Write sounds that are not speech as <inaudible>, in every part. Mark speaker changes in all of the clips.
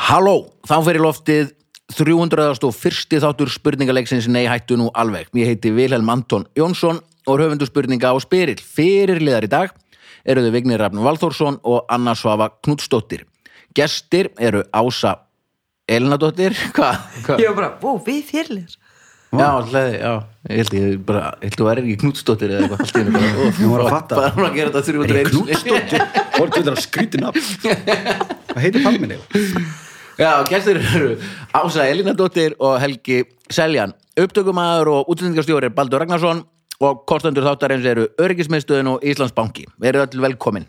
Speaker 1: Halló, þá fer í loftið 301. þáttur spurningaleiksins Nei hættu nú alveg. Ég heiti Vilhelm Anton Jónsson og er höfundu spurninga á spyrill. Fyrirliðar í dag eru þau Vignir Rafn Valþórsson og Anna Svava Knútsdóttir. Gestir eru Ása Elinadóttir, hvað? <laughs> Hva?
Speaker 2: Ég var bara, bú, við fyrirlir
Speaker 1: Já, hlæði, já, ég held ég bara, ég held þú væri ekki Knútsdóttir eða eitthvað allt í einu bara, ó,
Speaker 3: Hún var að fatta.
Speaker 1: Bara hún var að gera þetta 301.
Speaker 3: Knútsdóttir Hvor getur það skrítin af
Speaker 1: <laughs>
Speaker 3: Hvað heitir palmin eða?
Speaker 1: Já, gæstir eru Ása Elinadóttir og Helgi Seljan upptökumæður og útlendingarstjóri er Baldur Ragnarsson og kostendur þáttarins eru Öryggismiðstöðin og Íslandsbanki Verið öll velkomin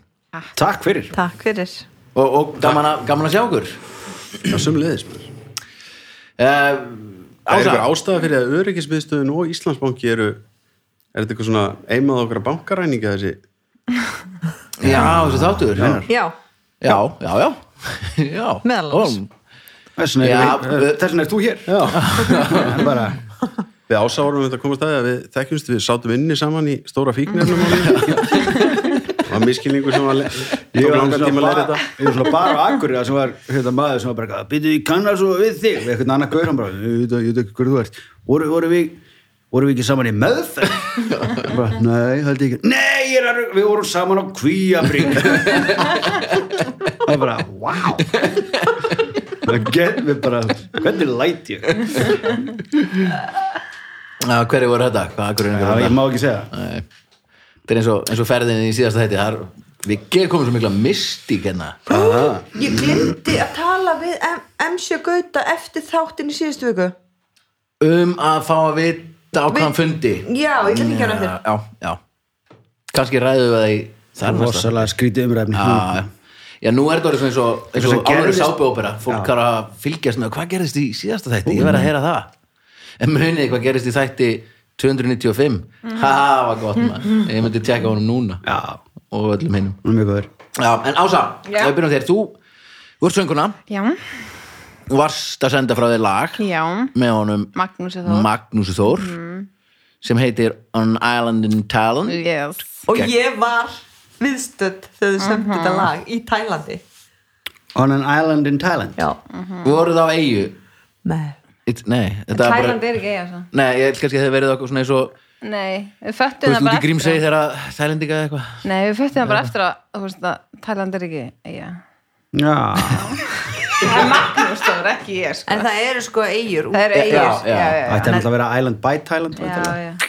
Speaker 3: Takk fyrir
Speaker 2: Takk fyrir
Speaker 1: og, og gaman, að, gaman að sjá okkur
Speaker 3: Já, sömuleiðis maður.
Speaker 1: uh,
Speaker 3: Það er
Speaker 1: Ása,
Speaker 3: einhver ástæða fyrir að öryggismiðstöðun og Íslandsbanki eru Er þetta eitthvað svona eimað okkar bankaræninga þessi?
Speaker 1: já, þessi þáttur Já,
Speaker 2: Já,
Speaker 1: já, já, já, <laughs> já.
Speaker 2: Meðal annars.
Speaker 1: Og-
Speaker 3: Þessin
Speaker 1: Já, við-
Speaker 3: þessin er þú hér Já, en <laughs> bara Við ásárum um þetta að komast að því að við þekkjumst, við sátum inni saman í stóra fíknefnum <laughs> var miskilningur sem var le-
Speaker 4: Ég
Speaker 3: tók
Speaker 4: var
Speaker 3: langan
Speaker 4: svona
Speaker 3: tíma að læra
Speaker 4: bara-
Speaker 3: þetta
Speaker 4: Ég var svona bara á Akureyri sem var hérna maður sem var bara eitthvað býtu ég kannar svo við þig og eitthvað annar gaur hann bara ég veit- ég veit ekki hverju þú ert voru, voru við voru við ekki saman í meðferð Ég bara, nei, held ég ekki nei, ég er að rugla- við vorum saman á kvíabring það er bara, wow það get við bara hvernig læt ég
Speaker 1: Já, Hverju voru þetta? Hvað akkurinn
Speaker 4: já,
Speaker 1: voru
Speaker 4: ég
Speaker 1: þetta?
Speaker 4: má ekki segja það.
Speaker 1: Þetta er eins og, eins og ferðin í síðasta hætti þar, Við gerum komum svo mikla mystík hérna
Speaker 2: ég glemdi að tala við M- MC Gauta eftir þáttinn í síðustu viku
Speaker 1: um að fá að vita á hvaðan
Speaker 2: Við-
Speaker 1: fundi
Speaker 2: Já, ég ætla ekki að gera
Speaker 1: Já, já, já. kannski ræðum við það í þar næsta
Speaker 4: rosalega skrítið umræfni
Speaker 1: Já, já. já, nú er þetta orðið svona eins og, eins
Speaker 4: Eitthvað
Speaker 1: og
Speaker 4: sem
Speaker 1: álur
Speaker 4: gerðist.
Speaker 1: sápuópera fólk er að fylgjast með hvað gerðist í síðasta þætti, ég verð að heyra það en munið hvað gerðist í þætti 295,
Speaker 5: Mm.
Speaker 1: það var gott maður ég myndi tjekka honum núna
Speaker 4: já,
Speaker 1: og öllum hinnum
Speaker 4: hún er mjög góður
Speaker 1: já, en Ása,
Speaker 5: Já.
Speaker 1: við byrjum á þér, þú þú ert sönguna,
Speaker 5: Já,
Speaker 1: þú varst að senda frá þér lag
Speaker 5: já,
Speaker 1: með honum
Speaker 5: Magnúsi Þór. Mm.
Speaker 1: Magnúsi Þór sem heitir On Island in Talon
Speaker 5: yes.
Speaker 2: Og ég var viðstödd þegar þau sömdu þetta lag í Tælandi
Speaker 4: on an island in Thailand
Speaker 2: Já,
Speaker 1: voru það á eigu
Speaker 2: með
Speaker 1: It, nei, þetta er
Speaker 5: Tæland
Speaker 1: bara
Speaker 5: er ekki eiga svo.
Speaker 1: nei, ég held kannski að það verið okkur svona eins og
Speaker 5: Nei, við
Speaker 1: þú
Speaker 5: föttum
Speaker 1: veist
Speaker 5: það
Speaker 1: út
Speaker 5: bara
Speaker 1: í Grímsegi þegar að Þælendinga eða eitthvað
Speaker 5: Nei, við föttum það bara eftir að, þú veist, að Tæland er ekki eiga.
Speaker 4: já,
Speaker 5: Það er Magnús Þór, ekki ég, sko.
Speaker 2: En það eru sko eigur
Speaker 5: Það er
Speaker 1: Já,
Speaker 5: eigir,
Speaker 1: já.
Speaker 5: já, já, já.
Speaker 4: ætti hann alltaf að vera island by Thailand
Speaker 5: já,
Speaker 4: væntanlega.
Speaker 5: já.
Speaker 1: já, já,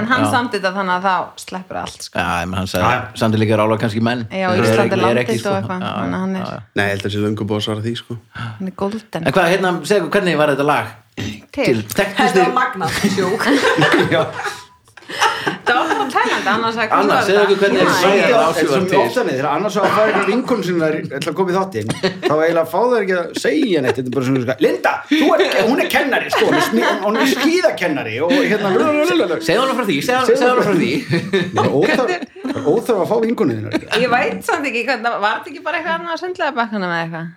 Speaker 5: En hann
Speaker 1: já.
Speaker 5: samdi þetta þannig að þá sleppur allt, sko.
Speaker 1: já, ég menn hann
Speaker 4: Já, já.
Speaker 1: sagði samt er líka rála kannski menn
Speaker 5: Já,
Speaker 1: Þeir eru
Speaker 5: Ísland
Speaker 1: ekki-
Speaker 5: er
Speaker 1: ég
Speaker 5: landið
Speaker 1: ekki, sko.
Speaker 5: og eitthvað,
Speaker 1: já,
Speaker 5: þannig að hann er-
Speaker 1: já, já.
Speaker 3: Nei, ég held að þessi löngu búið að svara því sko
Speaker 5: Hann er golden.
Speaker 1: en hvað, hérna, segja okkur hvernig var þetta lag
Speaker 5: Til.
Speaker 1: þekktust
Speaker 2: Þetta var
Speaker 1: þið
Speaker 2: magnað sjók
Speaker 5: Það var bara Tæland, annars að
Speaker 1: Anna, segðu okkur hvernig
Speaker 5: Nei.
Speaker 1: er
Speaker 4: Svo
Speaker 1: Sæja
Speaker 4: mjög
Speaker 1: rási
Speaker 4: oft-
Speaker 1: var
Speaker 4: svo mjög
Speaker 1: til.
Speaker 4: ofta niður, þegar annars á að fara ykkur vinkunum sinna ætla að koma í þáttinn þá eiginlega fá það ekki að segja neitt þetta er bara svona, sko, Linda, þú er, hún er kennari sko, hún er, smi, hún er skíðakennari og hérna lululululul.
Speaker 1: segja hann frá því, segja hann frá því <laughs>
Speaker 4: Það er óþarf- það er óþarf að fá vinkunum þínar
Speaker 5: Ég veit samt ekki hvernig, var þetta ekki bara eitthvað annað að sundlega bakkanum eða eitthvað?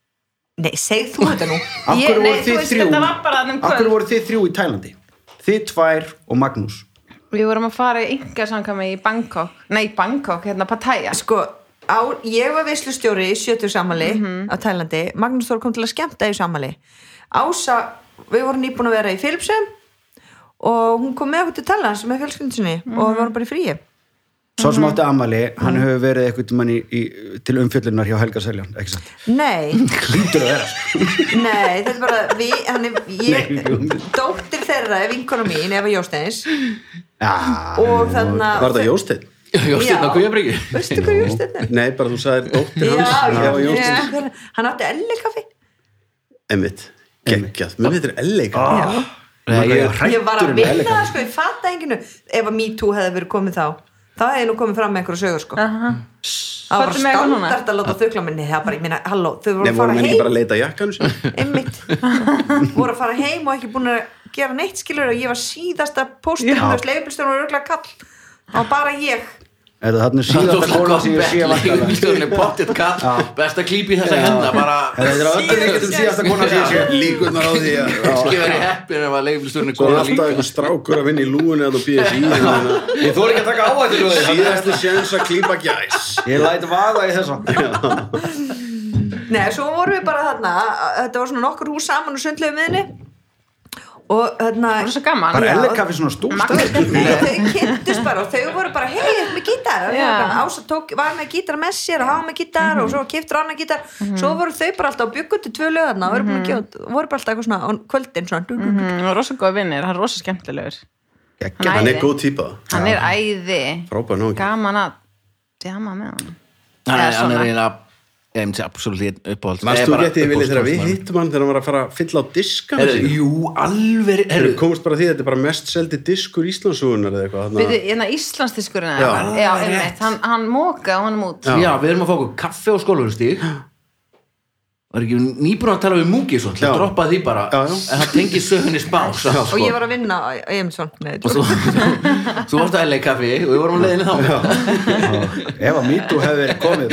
Speaker 2: <laughs> Nei, segð þú þetta nú
Speaker 4: af
Speaker 5: Ég-
Speaker 4: hverju
Speaker 5: nei,
Speaker 4: voru
Speaker 5: þú
Speaker 4: þið
Speaker 5: veist,
Speaker 4: þrjú
Speaker 5: þetta var bara þarna um
Speaker 4: af hverju
Speaker 5: kvöld.
Speaker 4: voru þið þrjú í Tælandi þið tvær og Magnús
Speaker 5: Við vorum að fara í ynga samkvæmi í Bangkok, nei, Bangkok, hérna Pattaya.
Speaker 2: Sko, á, ég var veislustjóri í 70 samali á Tælandi Magnús Þór kom til að skemmta í samali Ása, við vorum nýbúin að vera í Philipsum og hún kom með okkur til Tælans með fjölskyldinsinni og við vorum bara í fríi
Speaker 4: svo
Speaker 5: Mhm.
Speaker 4: sem átti Amali, hann hefur verið eitthvað tímann í, í, til umfjöllunar hjá Helga Seljan ekki satt,
Speaker 2: Nei,
Speaker 4: lítur að vera sko.
Speaker 5: <laughs>
Speaker 2: nei, þetta er bara við, hann er, ég,
Speaker 4: Nei, við-
Speaker 2: dóttir þeirra er vinkona mín, Eva Jósteins
Speaker 4: Já,
Speaker 2: og þannig að
Speaker 3: Var það Jósteinn?
Speaker 1: Jósteinn á Kvíabryggju
Speaker 2: Veistu hvað Jósteinn er?
Speaker 3: Nei, bara þú sagðir dóttir hans
Speaker 2: Já,
Speaker 3: það var
Speaker 2: já,
Speaker 3: Jósteinn
Speaker 5: Jósteinn.
Speaker 2: já, hann átti elli kaffi
Speaker 3: Emmitt, geggjað, mér veitir elleika
Speaker 2: Já
Speaker 1: Nei, ég-
Speaker 2: ég var
Speaker 4: Hræddur
Speaker 2: að
Speaker 4: um
Speaker 2: vinna
Speaker 4: ellegan.
Speaker 2: það sko, ég fatta enginu ef að Me Too hefði verið komið þá þá hefði nú komið fram með einhverju sögur sko það var
Speaker 5: Fattu mig
Speaker 2: bara
Speaker 5: Ah, eitthvað núna?
Speaker 2: standart að láta þukla minni það bara, ég meina, halló, þau voru
Speaker 3: Ah. Nei,
Speaker 2: að
Speaker 3: voru
Speaker 2: fara
Speaker 3: menn ekki bara að
Speaker 2: heim
Speaker 3: leita jakkan <laughs> sinni?
Speaker 2: einmitt, voru að fara heim og ekki búin að gera neitt skilur og ég var síðasta póstur
Speaker 4: Já.
Speaker 2: þess leifubílstjóðan og örgulega kall það var bara ég
Speaker 4: Er það þarna
Speaker 1: Það er
Speaker 4: síðasta
Speaker 1: svo
Speaker 4: kona
Speaker 1: gott
Speaker 4: sem ég sé vantarlega?
Speaker 1: leigubílstjórinn er pottitt kall best að klípi þessa henda bara
Speaker 4: Það er að öllu líkjöndum síðasta kona sem ég sé
Speaker 3: Líkurnar á því að
Speaker 1: ekki verið heppin ef að leigubílstjórinn er
Speaker 3: Svo er
Speaker 1: góða
Speaker 3: alltaf einhver strákur að vinna í lúinu eða á BSI þannig <laughs> að
Speaker 4: Ég þóri ekki að taka áhættu ljóði
Speaker 3: Síðasti séns að klípa gæs
Speaker 4: Ég læt vaða í þessa
Speaker 2: Nei, svo vorum við bara þarna Þetta var svona nokkur hús saman og sundlegu miðinni Og þarna
Speaker 5: Það er svo gaman
Speaker 4: bara
Speaker 2: Já.
Speaker 4: ellekaffi svona stúrstæð
Speaker 2: Nei, þau kynntust bara og þau voru bara hei, með gítar Og þau
Speaker 5: Já.
Speaker 2: voru bara, Ása tók, var með gítar með sér og hafa með gítar og svo kiptur annar gítar
Speaker 5: Mhm.
Speaker 2: svo voru þau bara alltaf byggut til tvö lögarna og voru, mm -hmm. voru bara alltaf eitthvað svona á kvöldin svona, mm
Speaker 5: Mm, hann var rosa góð vinnir, hann er rosa skemmtilegur
Speaker 3: hann
Speaker 5: æði.
Speaker 3: er góð típa
Speaker 5: hann er æði
Speaker 3: frábær nóg
Speaker 5: gaman að djama með hann
Speaker 1: hann er,
Speaker 5: Eða
Speaker 1: hann er
Speaker 5: svona.
Speaker 1: eiginlega ég myndi absolutt uppáhalds
Speaker 3: Manstu rétt ég vilja þegar við
Speaker 1: hitt
Speaker 3: hittum hann þegar hann var að fara að fylla á diskan
Speaker 1: Jú, alveg
Speaker 3: Þeir
Speaker 1: er,
Speaker 3: komist bara að því að þetta er bara mest seldi diskur Íslandsugunar eða eitthvað þarna.
Speaker 5: Við þið, hérna Íslandsdiskurinn eða
Speaker 3: Já.
Speaker 5: eitthvað? já, einmitt, hann, hann mókaði honum út
Speaker 1: Já, við erum að fá okkur kaffe og skólaugustík Var ekki nýbúin að tala við múki svo, ætla
Speaker 3: Já.
Speaker 1: að droppa því bara
Speaker 3: Já, já.
Speaker 1: en það tengir sögunni
Speaker 3: <laughs>
Speaker 1: spás sko.
Speaker 2: og ég var að vinna á á Emilsson Nei,
Speaker 1: og svo, svo varstu að LA kaffi og við vorum á leiðinni þá já.
Speaker 4: ef að mýtu hefði verið komið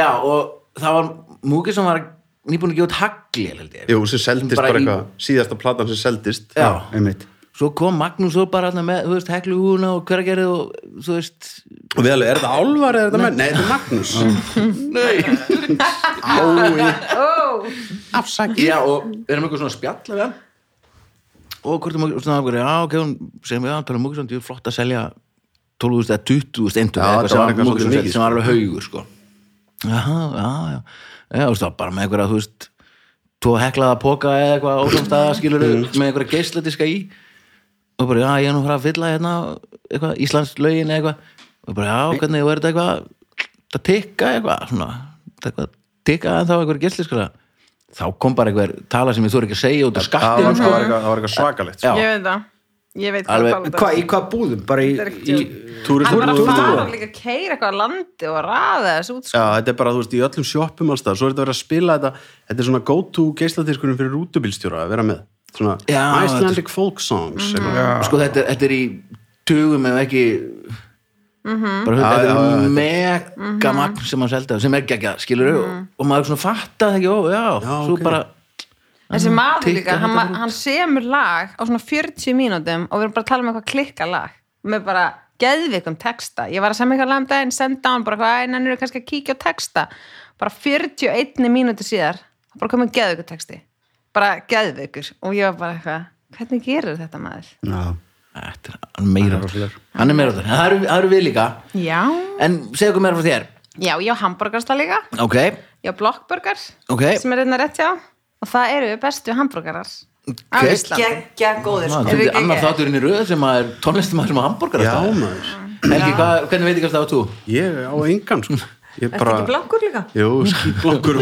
Speaker 1: og það var múki sem var nýbúin að gefa út hagli held ég.
Speaker 3: Jú, sem seldist bara,
Speaker 1: í-
Speaker 3: eitthvað, síðasta platan sem seldist
Speaker 1: Já.
Speaker 4: einmitt
Speaker 1: Svo kom Magnús og bara þarna með, þú veist, heglu húna og hveragerið og, þú veist
Speaker 3: Og við alveg, er þetta álvar eða er þetta menn? Nei, þetta er Magnús
Speaker 1: Nei,
Speaker 5: Ó,
Speaker 3: Afsaki
Speaker 1: Já, og við erum eitthvað svona að spjalla við hann og hvort er múkið, og svona okkur, já, ok, hún segir mig, já, tala múkið samt, ég er flott að selja 12.000 eða 20.000 endur
Speaker 3: Já,
Speaker 1: eða
Speaker 3: þetta var
Speaker 1: sem
Speaker 3: eitthvað
Speaker 1: Múkið
Speaker 3: svolítið
Speaker 1: sem
Speaker 3: mikið,
Speaker 1: seldi, sem var alveg haugur, sko Jaha, já, já, já, þú veist, það var bara með einhverja, þú veist tvo heklaða poka eða eitthvað
Speaker 3: Mm.
Speaker 1: ósamstæða skilur með einhverja geisladiska í og bara, já, ég er nú að fara að fylla hérna eitthvað, Íslands lögin eitthvað og bara, já, hvernig, og er þetta eitthvað það tikka eitthvað, svona eitthvað, tikka en þá einhverja geisladiska þá kom bara einhver tala sem ég þú er ekki að segja út af
Speaker 3: Það
Speaker 1: skattinum,
Speaker 3: var
Speaker 1: sko
Speaker 3: það var eitthvað það var eitthvað svakalegt sko.
Speaker 1: Já.
Speaker 5: ég veit það Ég veit hvað um.
Speaker 1: Alveg-
Speaker 5: það
Speaker 4: hvað, í hvað búðum? bara í, í
Speaker 5: Hann var að fara og
Speaker 3: Túristur
Speaker 5: líka keira eitthvað að landi og raða þessu út sko.
Speaker 3: Já, þetta er bara, þú veist, í öllum sjoppum allstað Svo er þetta verið að spila þetta Þetta er svona go-to geisladiskurinn fyrir rútubílstjóra að vera með Svona
Speaker 1: Já,
Speaker 3: Icelandic folk songs mm -hmm.
Speaker 1: sko þetta, er- þetta er í tugum ef ekki bara
Speaker 3: Já,
Speaker 1: þetta
Speaker 3: já, já,
Speaker 1: er
Speaker 3: þetta-
Speaker 1: mega magn sem maður selda sem er geggjað, skilur og, og maður svona fattar það ekki, ó já,
Speaker 3: Já,
Speaker 1: svo
Speaker 3: ok.
Speaker 1: bara
Speaker 5: Þessi maður líka,
Speaker 1: Tikka
Speaker 5: hann,
Speaker 1: þetta
Speaker 5: ma- hann semur lag á svona 40 mínútum og við erum bara að tala um eitthvað klikka lag með bara geðvikum texta ég var að semja eitthvað lag um daginn, senda hann bara hvað, en hann eru kannski að kíkja á texta bara 41 mínútu síðar það er bara komið geðvikur texti bara geðvikur og ég var bara eitthvað hvernig gerir þetta maður?
Speaker 4: Já.
Speaker 1: þetta er hann meira hann er meira þar, það eru- það eru við líka
Speaker 5: Já,
Speaker 1: en segja okkur meira frá þér
Speaker 5: já, ég á hambúrgarstað líka
Speaker 1: ok,
Speaker 5: Já, blokkburgar
Speaker 1: Ok.
Speaker 5: sem er einna rétt hjá og það eru bestu hambúrgarar á
Speaker 1: Ok.
Speaker 5: Íslandi
Speaker 2: geggja góður sko.
Speaker 1: það
Speaker 5: við
Speaker 1: er
Speaker 5: ekki
Speaker 1: annar
Speaker 5: ekki?
Speaker 1: þátturinn í röð sem að er tónlistamæður sem að hamburgara
Speaker 3: Já, maður
Speaker 1: Helgi, hvað, hvernig veit ekki hvað það á þú?
Speaker 3: Ég á engan, sko Ég
Speaker 2: Ertu ekki
Speaker 3: bara
Speaker 2: blankur líka?
Speaker 3: Jú, skýtblokkur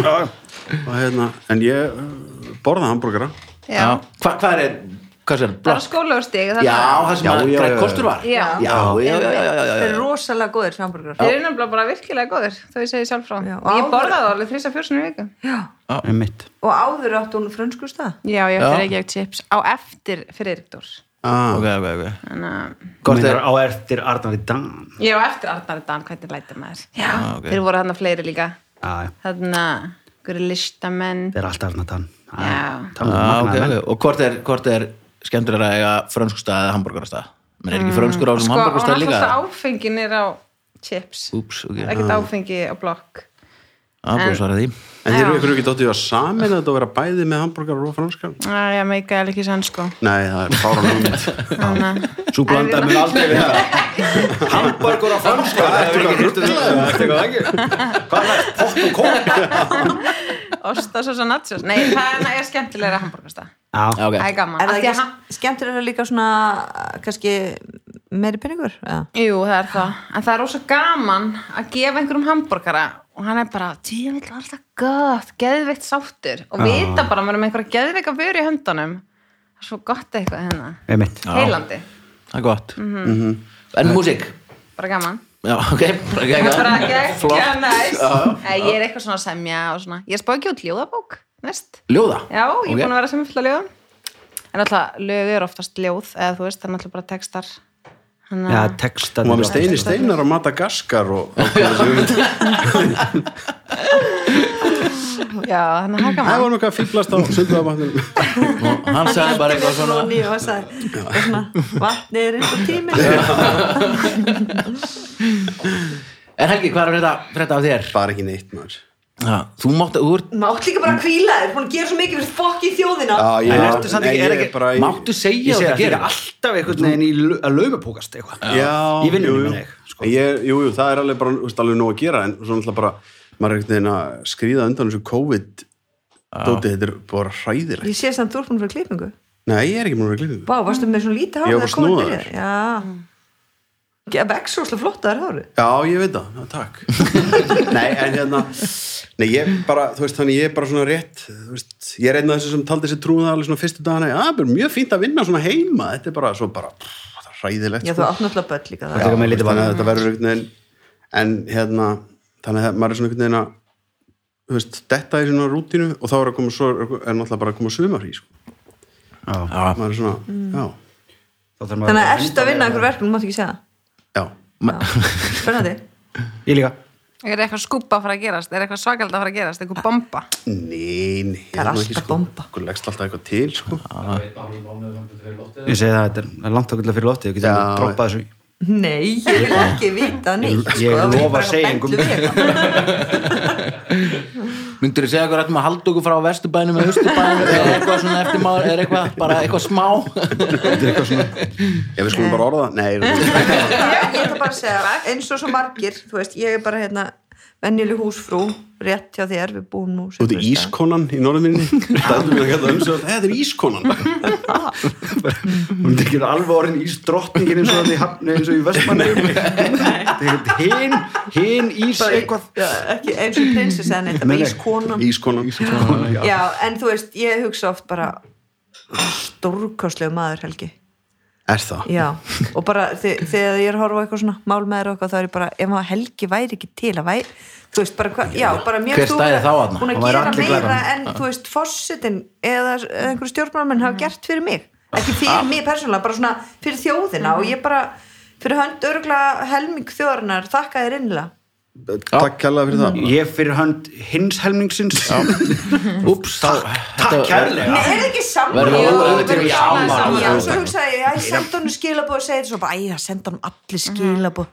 Speaker 3: Og hérna, en ég uh, borða hambúrgara
Speaker 5: Já.
Speaker 1: Hva, hvað er, hvað sér,
Speaker 5: Það eru
Speaker 1: blokk?
Speaker 5: skólaugustig
Speaker 1: Já, það sem
Speaker 3: Já,
Speaker 1: að
Speaker 3: já,
Speaker 1: græn
Speaker 3: já,
Speaker 1: kostur var
Speaker 5: Já.
Speaker 1: já, já, já, já, já, já,
Speaker 2: Þeir
Speaker 1: já.
Speaker 2: eru rosalega góður sem hambúrgar
Speaker 5: Þeir eru nefnilega bara virkilega góðir þó ég segi sjálf frá
Speaker 2: Já, og
Speaker 5: Ég
Speaker 2: áður-
Speaker 5: borðaði það alveg þrýsa fjórsinu viku
Speaker 4: einmitt
Speaker 2: og áður átti hún frönsku stað
Speaker 5: Já, ég
Speaker 1: Já.
Speaker 5: eftir ekki ekki chips á eftir Friðrikdór
Speaker 3: ah,
Speaker 1: ok, ok, ok
Speaker 5: Þannig
Speaker 1: Hvort
Speaker 4: Meinar
Speaker 1: er-
Speaker 4: á eftir Arnar í Dan
Speaker 5: að ég er á eftir Arnar Dan hvernig lætur maður Já,
Speaker 1: Ah, ok.
Speaker 5: þeir voru hann fleiri líka
Speaker 4: Já, já.
Speaker 5: Þannig að hverju listamenn
Speaker 4: það er alltaf Arnar Dan Já,
Speaker 5: Já.
Speaker 4: talandi um
Speaker 1: ah, okay,
Speaker 4: magnaða menn.
Speaker 1: okay. og hvort er, hvort er skemmtilega að eiga frönskustað eða hambúrgarastað menn er ekki frönskur á þessum
Speaker 5: Sko, og
Speaker 1: hambúrgarastað líka
Speaker 5: náttúrulega áfengin er á chips
Speaker 1: úps, ok,
Speaker 5: Ekkert áfengi á blokk
Speaker 1: aðbúið
Speaker 5: en-
Speaker 1: svara því
Speaker 3: En þeir
Speaker 5: Já.
Speaker 3: eru ykkur ekki dóttið að samin þetta að vera bæði með hambúrgar og franskar
Speaker 5: Æ, ég meika er ekki sann sko
Speaker 3: Nei, það er fára númið
Speaker 5: Þannig að
Speaker 4: Sú blanda mun aldrei við það Hamburgur á franska Þetta er eitthvað rugglaður um Þetta er eitthvað ekki Hvað er það? Pott og kók
Speaker 5: <laughs> Osta svo svo nachos Nei, það er- er skemmtilega hambúrgasta
Speaker 1: Já,
Speaker 4: Já,
Speaker 1: ok.
Speaker 5: Það er gaman
Speaker 2: er það
Speaker 5: Af því að
Speaker 2: ekki
Speaker 5: hann-
Speaker 2: skemmtir er það líka svona eh, kannski meiri peningur eða?
Speaker 5: Jú, það er það En það er ósa gaman að gefa einhverjum hambúrgara og hann er bara, djöfell, það er alltaf gott geðveikt sáttur og vita bara að maður er með einhverja geðveika vöru í höndunum það er svo gott eitthvað hérna
Speaker 4: einmitt
Speaker 5: heilandi,
Speaker 1: það er gott
Speaker 5: Mhm.
Speaker 3: Mhm.
Speaker 1: en músík
Speaker 5: bara gaman
Speaker 1: já, ok, bara ekki
Speaker 5: Það er bara
Speaker 1: eitthvað.
Speaker 5: geggja næs
Speaker 1: Já,
Speaker 5: Nei, Ég er eitthvað svona að semja og svona Ég spá ekki út ljóðabók, næst
Speaker 1: ljóða
Speaker 5: Já,
Speaker 1: Ok.
Speaker 5: ég er búin að vera sem fulla ljóðum En alltaf lög er oftast ljóð eða þú veist, það er alltaf bara textar Hanna,
Speaker 4: Já, texta
Speaker 3: Hún var með steini steinar á Madagaskar og og kom þessi hugmynd.
Speaker 5: Já, þannig að haka
Speaker 3: Það
Speaker 5: maður
Speaker 3: var nokkað að fýblast á sundlöðabatnum
Speaker 1: og hann sagði bara eitthvað svona
Speaker 2: Ný og sagði, eitthvað svona, vatnið er eins og tíminn
Speaker 1: en Helgi, hvað er þetta frétta af þér?
Speaker 3: Bara ekki neitt maður
Speaker 1: Ha, þú mátt, þú ert,
Speaker 2: Mátt líka bara kvíla þér, hún gerir svo mikið fyrir fokki þjóðina
Speaker 3: Já, ég,
Speaker 4: En ertu samt
Speaker 3: nei,
Speaker 4: ekki- er
Speaker 3: ég
Speaker 4: ekki-
Speaker 3: bara í-
Speaker 1: máttu
Speaker 4: ég
Speaker 1: segja að
Speaker 4: segi að
Speaker 1: það
Speaker 4: þetta er
Speaker 1: gerir
Speaker 4: alltaf einhvern veginn í lau- að laumupókast eitthvað
Speaker 3: Já,
Speaker 4: í vinnunni
Speaker 3: jú, jú.
Speaker 4: minni sko.
Speaker 3: En ég, jú, jú, það er alveg bara þú veist, alveg nóg að gera en svona alltaf bara maður er einhvern veginn að skríða undan þessu COVID dóti, þetta er bara hræðilegt
Speaker 2: Ég sé samt þú ert búin fyrir klippingu
Speaker 3: Nei, ég er ekki múin að glifja
Speaker 2: Bá, varstu með svona lítið hár
Speaker 3: Ég
Speaker 2: þegar
Speaker 3: var
Speaker 2: COVID
Speaker 3: snúðaður.
Speaker 2: byrjaði? Já Ég vekk svo slá flott að það er hárið
Speaker 3: Já, ég veit það, já, takk <laughs> Nei, en hérna Nei, ég bara, þú veist, þannig ég er bara svona rétt þú veist, ég er einn af þessu sem taldi sér trúða alveg svona fyrstu dagana, já, bara mjög fínt að vinna svona heima, þetta er bara svo bara pff, það er hræðilegt sko.
Speaker 2: Já, þú átt náttúrulega börn líka það
Speaker 4: Já. Tekur mig lítið
Speaker 3: þannig að þetta verður einhvern veginn en hérna, þannig að maður er svona einhvern veginn að þú veist, detta í svona rútínu og þá er að koma svo er náttúrulega bara að koma sumarhrí sko.
Speaker 4: Já.
Speaker 1: Já,
Speaker 3: maður er svona,
Speaker 2: Mm.
Speaker 3: já,
Speaker 4: Þá þarf maður
Speaker 2: Þannig að
Speaker 4: bara
Speaker 2: erst að vinna einhver verkefni, mátt ekki segja
Speaker 3: já
Speaker 1: <laughs>
Speaker 2: það Spennandi
Speaker 4: Ég líka
Speaker 5: Er eitthvað skúpa að fara að gerast? Er eitthvað svakald að fara að gerast? Eitthvað bomba?
Speaker 3: Nei, nei,
Speaker 2: Það er
Speaker 3: hérna
Speaker 2: alltaf
Speaker 3: sko.
Speaker 2: bomba.
Speaker 3: Okkur leggst alltaf eitthvað til sko.
Speaker 4: Ég segi það, þetta er- það er langt okkurlega fyrir loftið Ég geti
Speaker 3: Já.
Speaker 4: að droppa þessu í-
Speaker 2: Nei, ég vil ekki vita neitt
Speaker 4: Ég- ég
Speaker 2: það
Speaker 4: lofa
Speaker 2: er bara
Speaker 4: segjum.
Speaker 2: bellu við eitthvað.
Speaker 1: myndir þú segja eitthvað rættum að halda okkur frá vesturbænum eða austubænum eða eitthvað svona eftirmáður eða eitthvað, bara eitthvað smá
Speaker 4: Þetta er eitthvað svona
Speaker 3: ef við skulum bara orða,
Speaker 2: <laughs>
Speaker 3: nei, nei
Speaker 2: Ég ég ætla bara að segja, eins og svo margir Þú veist, ég er bara hérna venjuleg húsfrú, rétt hjá þér Við búum nú
Speaker 3: Þú ert ískonan í
Speaker 2: <laughs>
Speaker 3: norðminni Dættum við að kalla um sig að þetta er ískonan
Speaker 4: Hún er ekki alveg orðin ísdrottningin eins og það í hafni eins og í vestmanni <laughs> Þetta er hinn, hinn ís eitthvað
Speaker 2: Já, ekki eins og prinsessa en þetta
Speaker 4: Nei, nei.
Speaker 2: með ískonan
Speaker 3: Ískonan
Speaker 2: já, en þú veist, ég hugsa oft bara stórkostlegu maður helgi
Speaker 3: Er það?
Speaker 2: já, og bara þi- þegar ég er að horfa á eitthvað svona mál með þér og eitthvað, þá er ég bara ef maður helgi væri ekki til að væri þú veist, bara hvað, já, bara mér
Speaker 1: Hver
Speaker 2: þú
Speaker 1: stæði
Speaker 2: vera-
Speaker 1: þá þarna?
Speaker 2: búin
Speaker 4: Það
Speaker 2: að
Speaker 4: væri
Speaker 2: gera
Speaker 4: allir
Speaker 2: meira
Speaker 4: glæran.
Speaker 2: en þú veist, fossetin eða eða einhverju stjórnmálmenn hafa gert fyrir mig ekki
Speaker 1: Ah.
Speaker 2: fyrir mig persónulega, bara svona fyrir þjóðina og ég bara, fyrir hönd örgulega helming þjóðarinnar, þakka þér innlega
Speaker 3: Takk kærlega fyrir það
Speaker 4: Ég fyrir hönd hins helmingsins
Speaker 1: Úps, þá
Speaker 4: Takk kærlega
Speaker 2: Nei, er það ekki saman?
Speaker 1: Verður
Speaker 5: það
Speaker 2: Jú,
Speaker 5: óauðvitað
Speaker 2: verður
Speaker 5: í
Speaker 2: saman,
Speaker 5: ámar?
Speaker 2: Já, svo hugsaði ég, ég sendi honum skilabóð og segi þetta svo bara, æ, ég sendi honum allir skilabóð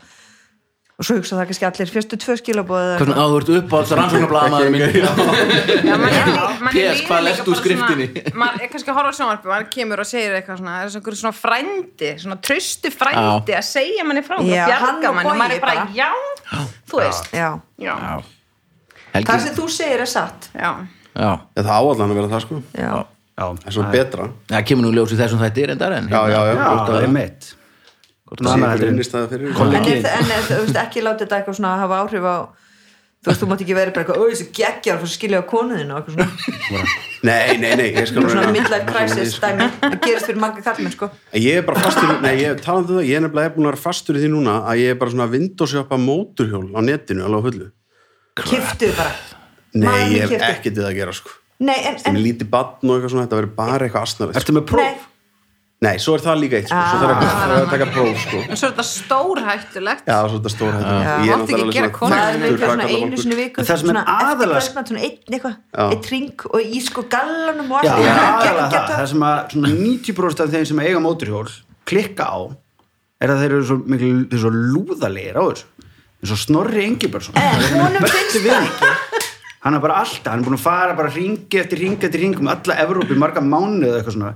Speaker 2: og svo hugsaði það kannski allir fyrstu tvö skilabóð eða-
Speaker 1: Hvernig að þú ert uppáhalds rannsóknarblæðamaður minn
Speaker 5: Já, mann er lí- manni
Speaker 1: PS,
Speaker 5: líður
Speaker 1: hvað
Speaker 5: líka
Speaker 1: lestu úr
Speaker 5: bara
Speaker 1: skriftinni?
Speaker 5: svona- maður er kannski að horfa á sjónvarpi maður kemur og segir eitthvað svona það er svona, svona frændi, svona tröstu frændi að segja manni frá,
Speaker 2: Já,
Speaker 5: að
Speaker 2: hann
Speaker 5: bjarga
Speaker 2: og
Speaker 5: manni og maður
Speaker 2: Bogi
Speaker 5: er bara,
Speaker 2: bara.
Speaker 5: já, þú veist
Speaker 2: Já,
Speaker 5: já,
Speaker 2: það
Speaker 1: Helgi,
Speaker 2: sem þú segir er satt
Speaker 5: já,
Speaker 1: já
Speaker 3: Það áallan að vera það sko
Speaker 2: Já,
Speaker 3: Það er svona betra
Speaker 1: Það kemur nú í ljós í þessum þætti reyndar en
Speaker 3: Já, já, já,
Speaker 4: Já, það er mitt
Speaker 3: Það sé ykkur innistæða fyrir
Speaker 2: en er það- en er það- þú veist, ekki láta þetta eitthvað svona hafa áhrif á þú veist, þú mátt ekki verið bara eitthvað, ó, þessi geggjar fyrir að skilja á konuðinu og eitthvað svona,
Speaker 3: Nei, nei, nei, ég skal
Speaker 2: eitthvað svona
Speaker 3: reyna-
Speaker 2: midlife crisis dæmi, það gerist fyrir marga kallmenn, sko
Speaker 3: En Ég er bara fastur, nei, ég talandi um það, ég er nefnilega búin að vera fastur í því núna að ég er bara svona að vindósjöpa móturhjól á netinu alveg á hullu.
Speaker 2: kiftuð bara Maður
Speaker 3: Nei, ég
Speaker 2: keypti.
Speaker 3: hef ekkert við að gera sko.
Speaker 2: Nei, en,
Speaker 3: Sem er
Speaker 2: en
Speaker 3: lítið batn og eitthvað svona, þetta verður bara eitthvað asnalegt. sko.
Speaker 4: Ertu með
Speaker 2: nei,
Speaker 4: próf?
Speaker 3: Nei, svo er það líka eitt sko, svo þarf að,
Speaker 2: Ah.
Speaker 3: þarf að taka próf sko.
Speaker 5: en svo er þetta stórhættulegt
Speaker 3: Já, svo þetta er stóra hættu.
Speaker 2: Ah.
Speaker 5: Já, mátti ekki gera konur.
Speaker 2: maður
Speaker 5: Þú
Speaker 2: virkar svona einu sinni í viku
Speaker 4: En það sem er
Speaker 2: svona
Speaker 4: aðalega-
Speaker 2: eftir kvöldmat, svona einn
Speaker 3: Já.
Speaker 2: eitthvað eitt ring og í sko gallanum og
Speaker 4: Já,
Speaker 2: allt
Speaker 4: það er
Speaker 2: Gegn-
Speaker 4: aðalega það,
Speaker 2: gegn-
Speaker 4: það sem að svona 90% af þeim sem eiga móturhjól klikka á er að þeir eru svo, miklu, þeir eru svo lúðalegir á þessu eins og Snorri Engilbertsson
Speaker 2: en honum finnst það ekki
Speaker 4: hann er bara alltaf, hann er búin að fara bara ringi eftir ringi eftir ringi um alla Evrópi marga mánuði eða eitthvað svona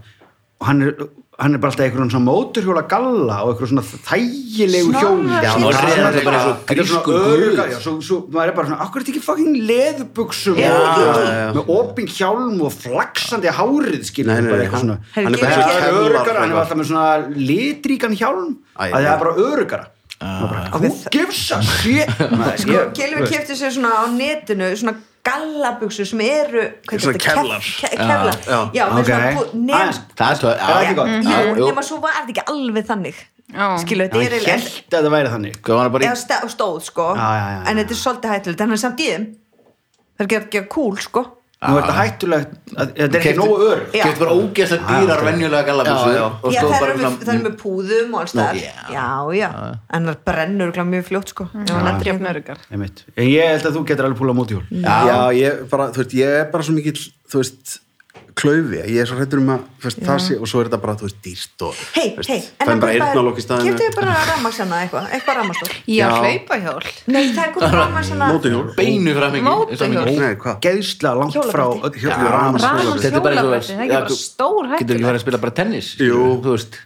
Speaker 4: og hann er, hann er bara alltaf einhverjum svona móturhjóla galla og einhverjum svona þægilegu
Speaker 2: Snorri
Speaker 4: hjóli
Speaker 2: Já,
Speaker 1: Snorri er náttúrulega bara svo
Speaker 4: Þetta er svona
Speaker 1: grískur
Speaker 4: öruga-
Speaker 1: guð.
Speaker 4: já, svo, svo maður er bara svona, akkur er þetta ekki fucking leðubuxum
Speaker 2: Já,
Speaker 4: og,
Speaker 2: já,
Speaker 3: já.
Speaker 4: með oping hjálm og flaksandi hárið skilur
Speaker 3: Nei, nei,
Speaker 4: bara
Speaker 3: nei,
Speaker 4: eitthvað
Speaker 3: hann,
Speaker 4: svona
Speaker 3: hann er
Speaker 2: Herregud,
Speaker 3: bara
Speaker 2: ég-
Speaker 3: svo
Speaker 4: Það er
Speaker 3: kevlar,
Speaker 4: örugara, hann er
Speaker 3: eitthvað.
Speaker 4: alltaf með svona litríkan hjálm
Speaker 3: Æ, Ah.
Speaker 4: að það er bara örugara Maður bara,
Speaker 2: Ok,
Speaker 4: Who
Speaker 2: það-
Speaker 4: gives a shit Maður,
Speaker 2: sko,
Speaker 4: ég-
Speaker 2: Gilvi kefti sér svona á netinu svona gallabuksu sem eru hvað
Speaker 3: Svona
Speaker 2: þetta, kef-
Speaker 3: kevlar.
Speaker 2: ke- kevlar
Speaker 3: já.
Speaker 2: já, með svona
Speaker 4: Ok.
Speaker 2: bú- nema
Speaker 4: Aðeins-
Speaker 1: Það er
Speaker 4: Það er
Speaker 1: það
Speaker 4: ekki gott.
Speaker 2: já,
Speaker 1: Já, jú.
Speaker 2: nema svo var þetta ekki alveg þannig
Speaker 5: Já.
Speaker 2: skilu,
Speaker 4: Já,
Speaker 2: þetta er
Speaker 4: ég
Speaker 2: eiginlega-
Speaker 4: held að það væri þannig
Speaker 1: Hvað var það bara
Speaker 2: eða
Speaker 1: í
Speaker 2: sta- stóð sko
Speaker 4: Já, já, já, já.
Speaker 2: en þetta er svolítið hættilegt, en hann er samt í þeim það er ekki að gera cool sko
Speaker 4: Nú er þetta hættulegt, að- þetta er ekki
Speaker 1: Keyptu-
Speaker 4: nógu ör
Speaker 2: Já.
Speaker 1: Keyptu bara ógeðslega dýrar venjulega
Speaker 3: Já, já.
Speaker 1: gallabúsur og
Speaker 2: Já,
Speaker 1: stóð
Speaker 2: það
Speaker 1: bara
Speaker 2: eru með,
Speaker 1: svona-
Speaker 2: það eru með púðum og alls þar
Speaker 1: já.
Speaker 2: Já, já, en það brennur örugglega mjög fljótt sko Já, hann er
Speaker 5: jafn
Speaker 2: drifnur
Speaker 5: örugar
Speaker 4: Einmitt. En
Speaker 2: Mm.
Speaker 4: ég held að þú getur alveg púla á móti hjól
Speaker 3: Já, ég, bara, þú veist, ég er bara svo mikill, þú veist, klaufi ég er svo hrættur um að þú veist, það sé og svo er þetta bara, þú veist, dýrt og
Speaker 2: hei,
Speaker 3: þú veist,
Speaker 2: hei,
Speaker 3: það er bara eyrnalokk í staðinu
Speaker 2: getur þið bara rafmagsana eitthvað, eitthvað rafmagsstól
Speaker 5: Ég á
Speaker 3: Já.
Speaker 5: hlaupahjól
Speaker 2: nei, það er komið rafmagsana
Speaker 3: mótuhjól
Speaker 1: beinu fram
Speaker 5: Mótorhjól.
Speaker 3: Nei, hvað?
Speaker 4: geðsla langt frá
Speaker 2: Hjólabretti.
Speaker 4: öll hjóla
Speaker 3: Rafmagnshjólabretti.
Speaker 5: Rafmagnshjólabretti,
Speaker 1: Þetta er bara eins og-
Speaker 5: það er ekki bara stór
Speaker 1: getur ekki
Speaker 5: hættulegt.
Speaker 1: farið að spila bara tennis
Speaker 3: Jú.
Speaker 1: þú veist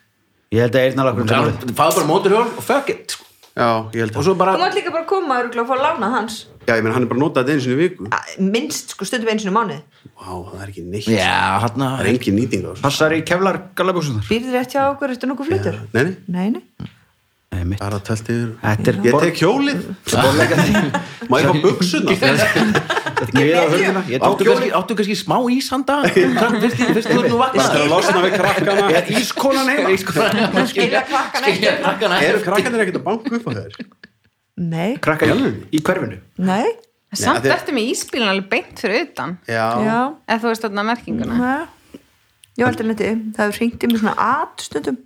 Speaker 4: Ég held að eyrnalakkurinn sé málið.
Speaker 1: fáðu bara móturhjól og fuck it sko.
Speaker 3: Já, ég held
Speaker 1: og
Speaker 3: að
Speaker 1: svo bara
Speaker 2: þú mátt líka bara koma örugglega, og fá að lána hans
Speaker 3: Já, ég meina, hann er bara að nota þetta einu sinni í viku Vá,
Speaker 2: Að- minnst, sko, stundum einu sinni í mánuði
Speaker 3: það er ekki neitt
Speaker 1: já hann
Speaker 3: Það er engin nýting á þessu
Speaker 4: Passar í kevlar galabúsunar
Speaker 2: býrðir rétt hjá okkur, ertu nokkuð flutur
Speaker 3: Nei, nei,
Speaker 2: nei, nei,
Speaker 4: Nei, mitt
Speaker 3: bara tælt yfir
Speaker 4: Þetta er
Speaker 3: Ég
Speaker 4: borg-
Speaker 3: tek hjólið
Speaker 4: Borleika því
Speaker 3: Má ég fá buksuna?
Speaker 4: Ég er á hörðina Ég tók
Speaker 1: áttu kannski,
Speaker 4: hjólið
Speaker 1: áttu kannski smá ísanda fyrst fyrst þú ert nú
Speaker 3: Það er
Speaker 1: vaknað
Speaker 3: að losna við krakkana
Speaker 4: Ég er ískonan heima
Speaker 1: Ískonar.
Speaker 2: skilja krakkan ekki
Speaker 1: krakkana
Speaker 3: Eru krakkanir ekkert að banka upp á þeir?
Speaker 2: nei,
Speaker 4: Krakka í, í hverfinu
Speaker 2: nei,
Speaker 5: Samt
Speaker 3: þeir-
Speaker 5: ertu með íspílun alveg beint fyrir utan
Speaker 2: já
Speaker 5: Ef þú veist þarna merkinguna
Speaker 2: nei ég heldur leti, það hefur hringt í mig svona at stundum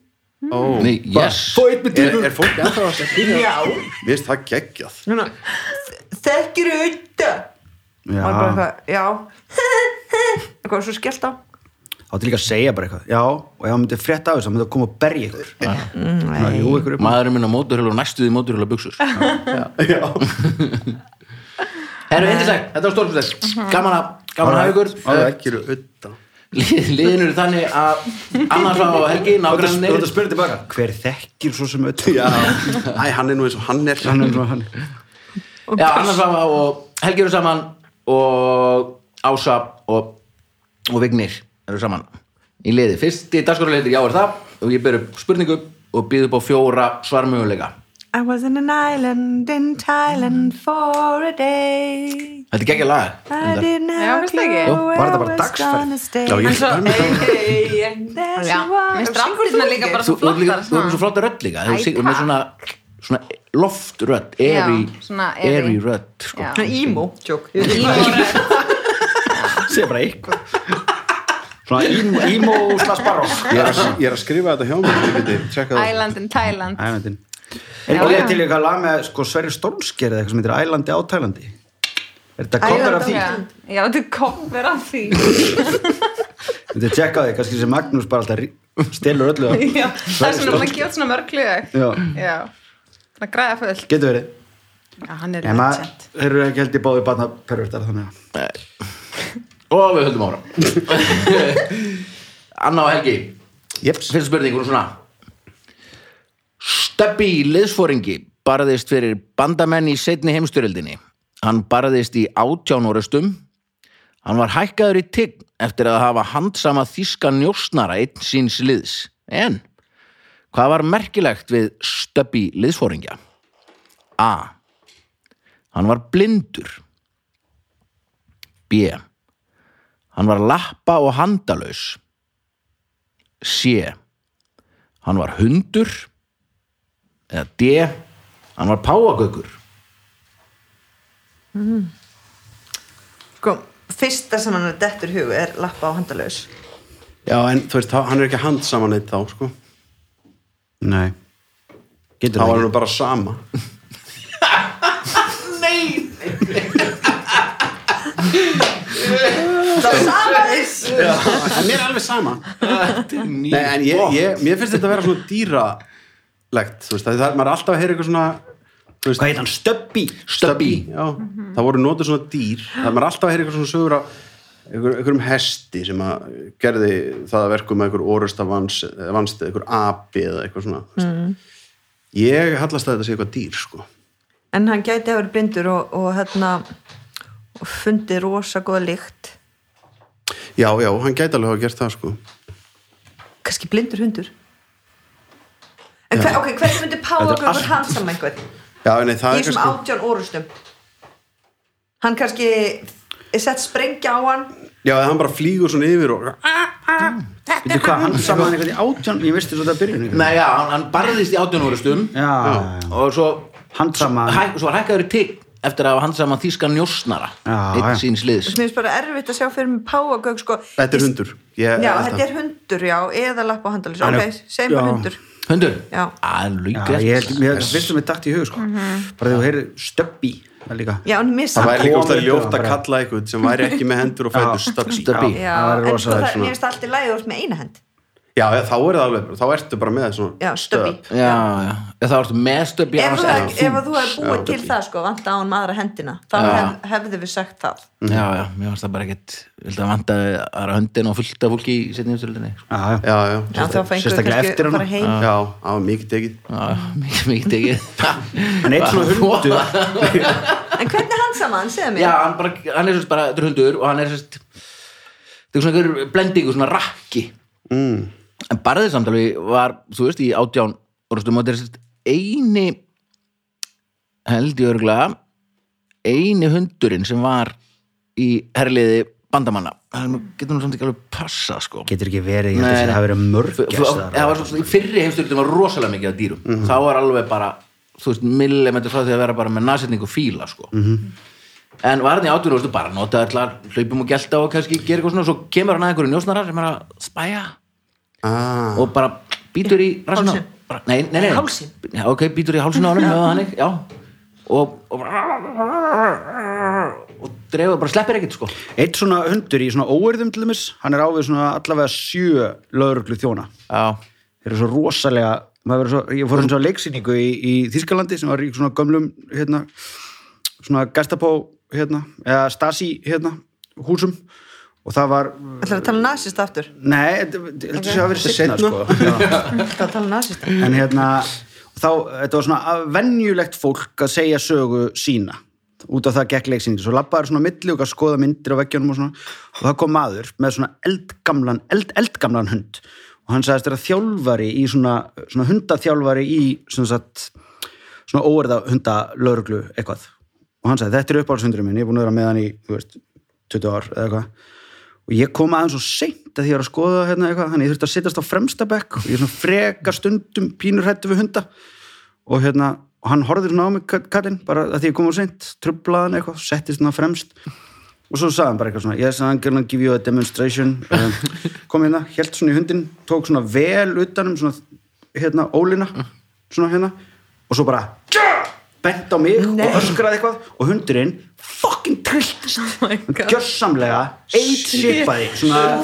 Speaker 3: Ó.
Speaker 1: Nei, yes.
Speaker 4: eitt með
Speaker 3: Er, er fólk ennþá að segja
Speaker 2: Já.
Speaker 3: Mér finnst það geggjað
Speaker 2: núna, þekkir auðvita og er bara
Speaker 4: Já,
Speaker 2: eitthvað, já <laughs> eitthvað svo skellt á
Speaker 4: áttu líka að segja bara eitthvað Já, og ef hann myndi frétta af þessu, hann myndi að koma og berja ykkur
Speaker 2: Mm,
Speaker 4: Svona, Jú, ykkur upp
Speaker 1: maðurinn minn á móturhjól og næstuði móturhjól að buksur
Speaker 3: Já.
Speaker 1: herru, eindislegt, þetta var stórkustætt gaman að, gaman að hafa ykkur Eh,
Speaker 3: Það er ekki auðvitað
Speaker 1: Lið- liðin eru þannig að annars á Helgi,
Speaker 4: Þú ert að
Speaker 1: nágrannir
Speaker 4: spyrja tilbaka Hver þekkir svo sem öll
Speaker 3: Já. Æ, hann er nú eins og hann er
Speaker 4: Hann er svona hann
Speaker 1: Já, annars Svava og Helgi eru saman og Ása og, og Vignir eru saman í liði. Fyrsti dagskoruleitir, já er það og ég ber upp spurningu og býð upp á fjóra svarmöguleika.
Speaker 2: I was on an island in Thailand for a day
Speaker 1: Þetta er geggja lag.
Speaker 2: I didn't
Speaker 5: Já,
Speaker 2: have a
Speaker 5: finnst það ekki?
Speaker 2: clue
Speaker 5: Jú,
Speaker 2: where
Speaker 4: var þetta
Speaker 2: I
Speaker 4: bara
Speaker 2: was
Speaker 4: dagsferð?
Speaker 2: gonna stay
Speaker 3: Já, ég
Speaker 2: En svo,
Speaker 3: dæmi það.
Speaker 2: hey, hey, and there she
Speaker 5: Já,
Speaker 2: was.
Speaker 5: mér finnst
Speaker 2: Og syngur
Speaker 5: raflýsna
Speaker 2: þú
Speaker 5: líka
Speaker 2: ekki?
Speaker 5: bara
Speaker 1: Þú, þú, ert líka,
Speaker 5: Flottar, sko.
Speaker 1: þú erum
Speaker 5: svona.
Speaker 1: svo flott rödd líka.
Speaker 5: Æ,
Speaker 1: Þú syngur með
Speaker 5: takk.
Speaker 1: svona, svona loftrödd, eri,
Speaker 5: Já, svona airy.
Speaker 1: eri rödd. Sko.
Speaker 5: Já.
Speaker 2: Svona Emo, tjók
Speaker 5: Ímóra
Speaker 4: Segja bara eitthvað Svona ím- ímó slags barokk
Speaker 3: ég er, að, ég er að skrifa þetta hjá mér Ég geti tjekkað það
Speaker 5: Island in Thailand
Speaker 4: Ælendin Er
Speaker 5: Já,
Speaker 4: ekki
Speaker 5: já.
Speaker 4: til eitthvað lag með sko, Sverri Stormsker eða eitthvað sem heitir Ælandi á Tælandi Er þetta
Speaker 2: Æland
Speaker 4: komur
Speaker 2: á
Speaker 4: af því?
Speaker 5: Já, já, þetta er komur af því
Speaker 4: Þetta er tjekka á því, kannski sem Magnús bara alltaf rí- stelur öllu af.
Speaker 5: Já, Það er svona búin að gjóta svona mörg lög
Speaker 4: Já.
Speaker 5: Já Svona græða fullt
Speaker 4: Getur verið
Speaker 5: Já, hann er
Speaker 4: En maður,
Speaker 5: legend
Speaker 4: þeir eru ekki held í báði barna pervertar þannig að
Speaker 1: Og við höldum ára.
Speaker 5: <laughs>
Speaker 1: Anna og Helgi,
Speaker 4: Jeps
Speaker 1: fyrsta spurning, hún er svona Steppi liðsfóringi barðist fyrir bandamenn í setni heimstyrildinni hann barðist í átjánórastum hann var hækkaður í tigg eftir að hafa handsama þíska njósnara einn síns liðs en hvað var merkilegt við Steppi liðsfóringja A hann var blindur B hann var lappa og handalaus C. Hann var hundur eða D. Hann var páagaukur
Speaker 2: Sko, fyrsta sem hann er dettur hug er lappa á handalaus
Speaker 4: <laughs>
Speaker 3: Já, en þú veist, hann er ekki hand saman eitt þá sko.
Speaker 4: Nei Getur
Speaker 3: Þá
Speaker 4: það
Speaker 3: er
Speaker 4: ekki
Speaker 3: hann bara sama
Speaker 2: Það er samanleis
Speaker 3: En mér er alveg sama Nei, en ég, ég, mér finnst þetta að vera svona dýralegt Þú veist, það er maður er alltaf að heyra eitthvað svona Þú veist,
Speaker 4: Hvað heit hann? Stöbbi?
Speaker 1: Stöbbi
Speaker 3: Já,
Speaker 2: Mhm.
Speaker 3: það voru notuð svona dýr það maður alltaf að heyra eitthvað svona sögur af einhver, einhverjum hesti sem að gerði það að verkum með einhver orusta vans, eða vanstið, einhver api eða eitthvað svona mm.
Speaker 2: Mhm.
Speaker 3: ég hallast að þetta sé eitthvað dýr sko.
Speaker 2: En hann gæti að vera blindur og, og hérna og fundið rosa góða lykt
Speaker 3: já, já, hann gæti alveg að gert það sko.
Speaker 2: kannski blindur hundur En hver, ok, hvernig myndi páfa
Speaker 4: Þetta er
Speaker 2: okkur handsam einhvern?
Speaker 3: já, nei, það
Speaker 2: í
Speaker 3: er
Speaker 2: þessum
Speaker 3: kannski
Speaker 2: átján orustum hann kannski er sett sprengja á hann
Speaker 3: já, eða hann bara flýgur svona yfir og
Speaker 4: Veitu hvað, hann saman eitthvað í átján Ég visti svo þetta að byrjun
Speaker 1: Nei, já, hann, hann barðist í átjónúrastum
Speaker 4: Já,
Speaker 1: og svo,
Speaker 4: hann saman
Speaker 1: hæ, svo var hækkaður í tigg eftir að hann sama þíska njósnara
Speaker 4: Já,
Speaker 1: einn
Speaker 4: já.
Speaker 1: síns liðs
Speaker 2: sem er bara erfitt að sjá fyrir mig páagauk sko.
Speaker 3: þetta er hundur ég,
Speaker 2: já, þetta er hundur, já, eða lappa á handalins
Speaker 4: Hann er-
Speaker 2: ok, segjum bara
Speaker 4: já.
Speaker 2: hundur
Speaker 1: Hundur?
Speaker 2: Já.
Speaker 1: Alveg
Speaker 4: Já,
Speaker 1: rétt.
Speaker 5: Mhm.
Speaker 4: ég held, mér finnst það mér dagt í hug sko Bara þegar þú heyrir Stöbbi það líka
Speaker 2: já, en mér
Speaker 3: það
Speaker 2: samt
Speaker 3: væri líka úst að
Speaker 4: Komið
Speaker 3: ljótt að
Speaker 4: bara.
Speaker 3: kalla eitthvað sem væri ekki með hendur og fætur stöpsi já,
Speaker 1: Stöppi.
Speaker 2: já,
Speaker 4: það væri
Speaker 2: en
Speaker 4: rosa
Speaker 2: svo það,
Speaker 4: svona.
Speaker 2: mér finnst allt í lagi úr með eina hend
Speaker 3: já, þá er það alveg, þá ertu bara með svona
Speaker 2: já, stöppi
Speaker 1: já, já, já það varstu mestöp
Speaker 2: ef þú hef- ef þú hefði búið
Speaker 3: Já,
Speaker 2: til
Speaker 3: stöppi.
Speaker 2: það sko, vanta á hann maður að hendina þá
Speaker 1: Já.
Speaker 2: hef, hefðu við sagt það
Speaker 1: já, já, mér varst það bara ekkit vildi að vanda aðra höndin og fullta fólki í sko. setni umstöldinni
Speaker 4: já, já.
Speaker 3: já, já,
Speaker 2: já, þá fengur við
Speaker 4: sérstaklega eftir
Speaker 2: kannski að
Speaker 4: hana.
Speaker 2: fara heim
Speaker 3: já, á mikið tekið
Speaker 1: já, mikið, mikið
Speaker 4: <laughs>
Speaker 1: tekið
Speaker 4: en eitt svona <laughs> hundu
Speaker 2: en hvernig hans saman, segðu
Speaker 1: já,
Speaker 2: mér
Speaker 1: hann, bara, hann er sérst bara, þetta er hundur og hann er sérst þetta er svona einhver blendingu, svona rakki
Speaker 3: mm.
Speaker 1: en barðið samtali var, þú veist, í átján orðstum og þetta er sérst eini held í örgulega eini hundurinn sem var í herliði bandamanna það getur nú samt ekki alveg passa sko
Speaker 4: getur ekki verið, ég held að
Speaker 1: Nei,
Speaker 4: það
Speaker 1: nei.
Speaker 4: hafi verið mörg
Speaker 1: F- f- það var svona í fyrri heimstyrðum var rosalega mikið af dýrum
Speaker 4: Mhm.
Speaker 1: þá var alveg bara, þú veist, millimetri frá því að vera bara með nasetningu fíla sko.
Speaker 4: Mhm.
Speaker 1: en var hann í átjúru og bara nota allar hlaupum og gelta og kannski gera eitthvað svona og svo kemur hann að einhverju njósnarar sem er að spæja
Speaker 3: ah.
Speaker 1: og bara býtur í rassinu
Speaker 2: Hálsinn.
Speaker 1: Bara- nei, nei, nei,
Speaker 2: Hálsinn.
Speaker 1: já, ok, býtur í hálsinn á honum já, hann ekki, já og, og, og dreifur bara sleppir ekkert sko
Speaker 4: eitt svona hundur í svona óerðum til dæmis hann er ávið svona allavega sjö lögreglu þjóna
Speaker 1: já,
Speaker 4: þeir eru svo rosalega maður verður svo, ég fór eins og leiksýningu í, í Þískalandi sem var í svona gömlum hérna, svona gestapó hérna, eða Stasi hérna, húsum og það var
Speaker 2: ætlar að tala nasist aftur
Speaker 4: nei, þetta okay. sé að vera sitna
Speaker 3: Seinna.
Speaker 4: sko. Já.
Speaker 2: ætlar að tala nasist
Speaker 4: en hérna þá, þetta var svona að- venjulegt fólk að segja sögu sína út af það gekk leiksýningu, svo labbaður svona á milli og gaf skoða myndir á veggjónum og svona og það kom maður með svona eldgamlan eld, eldgamlan hund og hann sagðist þeirra þjálfari í svona, svona hundaþjálfari í svona, sagt, svona óverða hundalörglu eitthvað og hann sagði þetta er uppáhaldshundurinn minn, ég er búin að vera með hann í þú veist, 20 ár eða eitthvað og ég kom aðeins svo seint að því ég var að skoða hérna eitthvað, þannig ég þurfti að sittast á fremsta bekk og ég svona freka stundum pínur hættu við hunda og hérna, og hann horfði svona á mig kall- kallinn, bara að því ég kom á seint trublaðan eitthvað, settist svona fremst og svo sagði hann bara eitthvað svona yes, I'm gonna give you a demonstration um, kom hérna, helt svona í hundin tók svona vel utanum svona hérna, ólina, svona hérna og svo bara bent á mig
Speaker 2: Nei.
Speaker 4: og öskraði eitthvað og hundurinn fucking trilltist
Speaker 5: Oh my
Speaker 4: Hann
Speaker 5: God.
Speaker 4: gjörsamlega eitt sipaði svona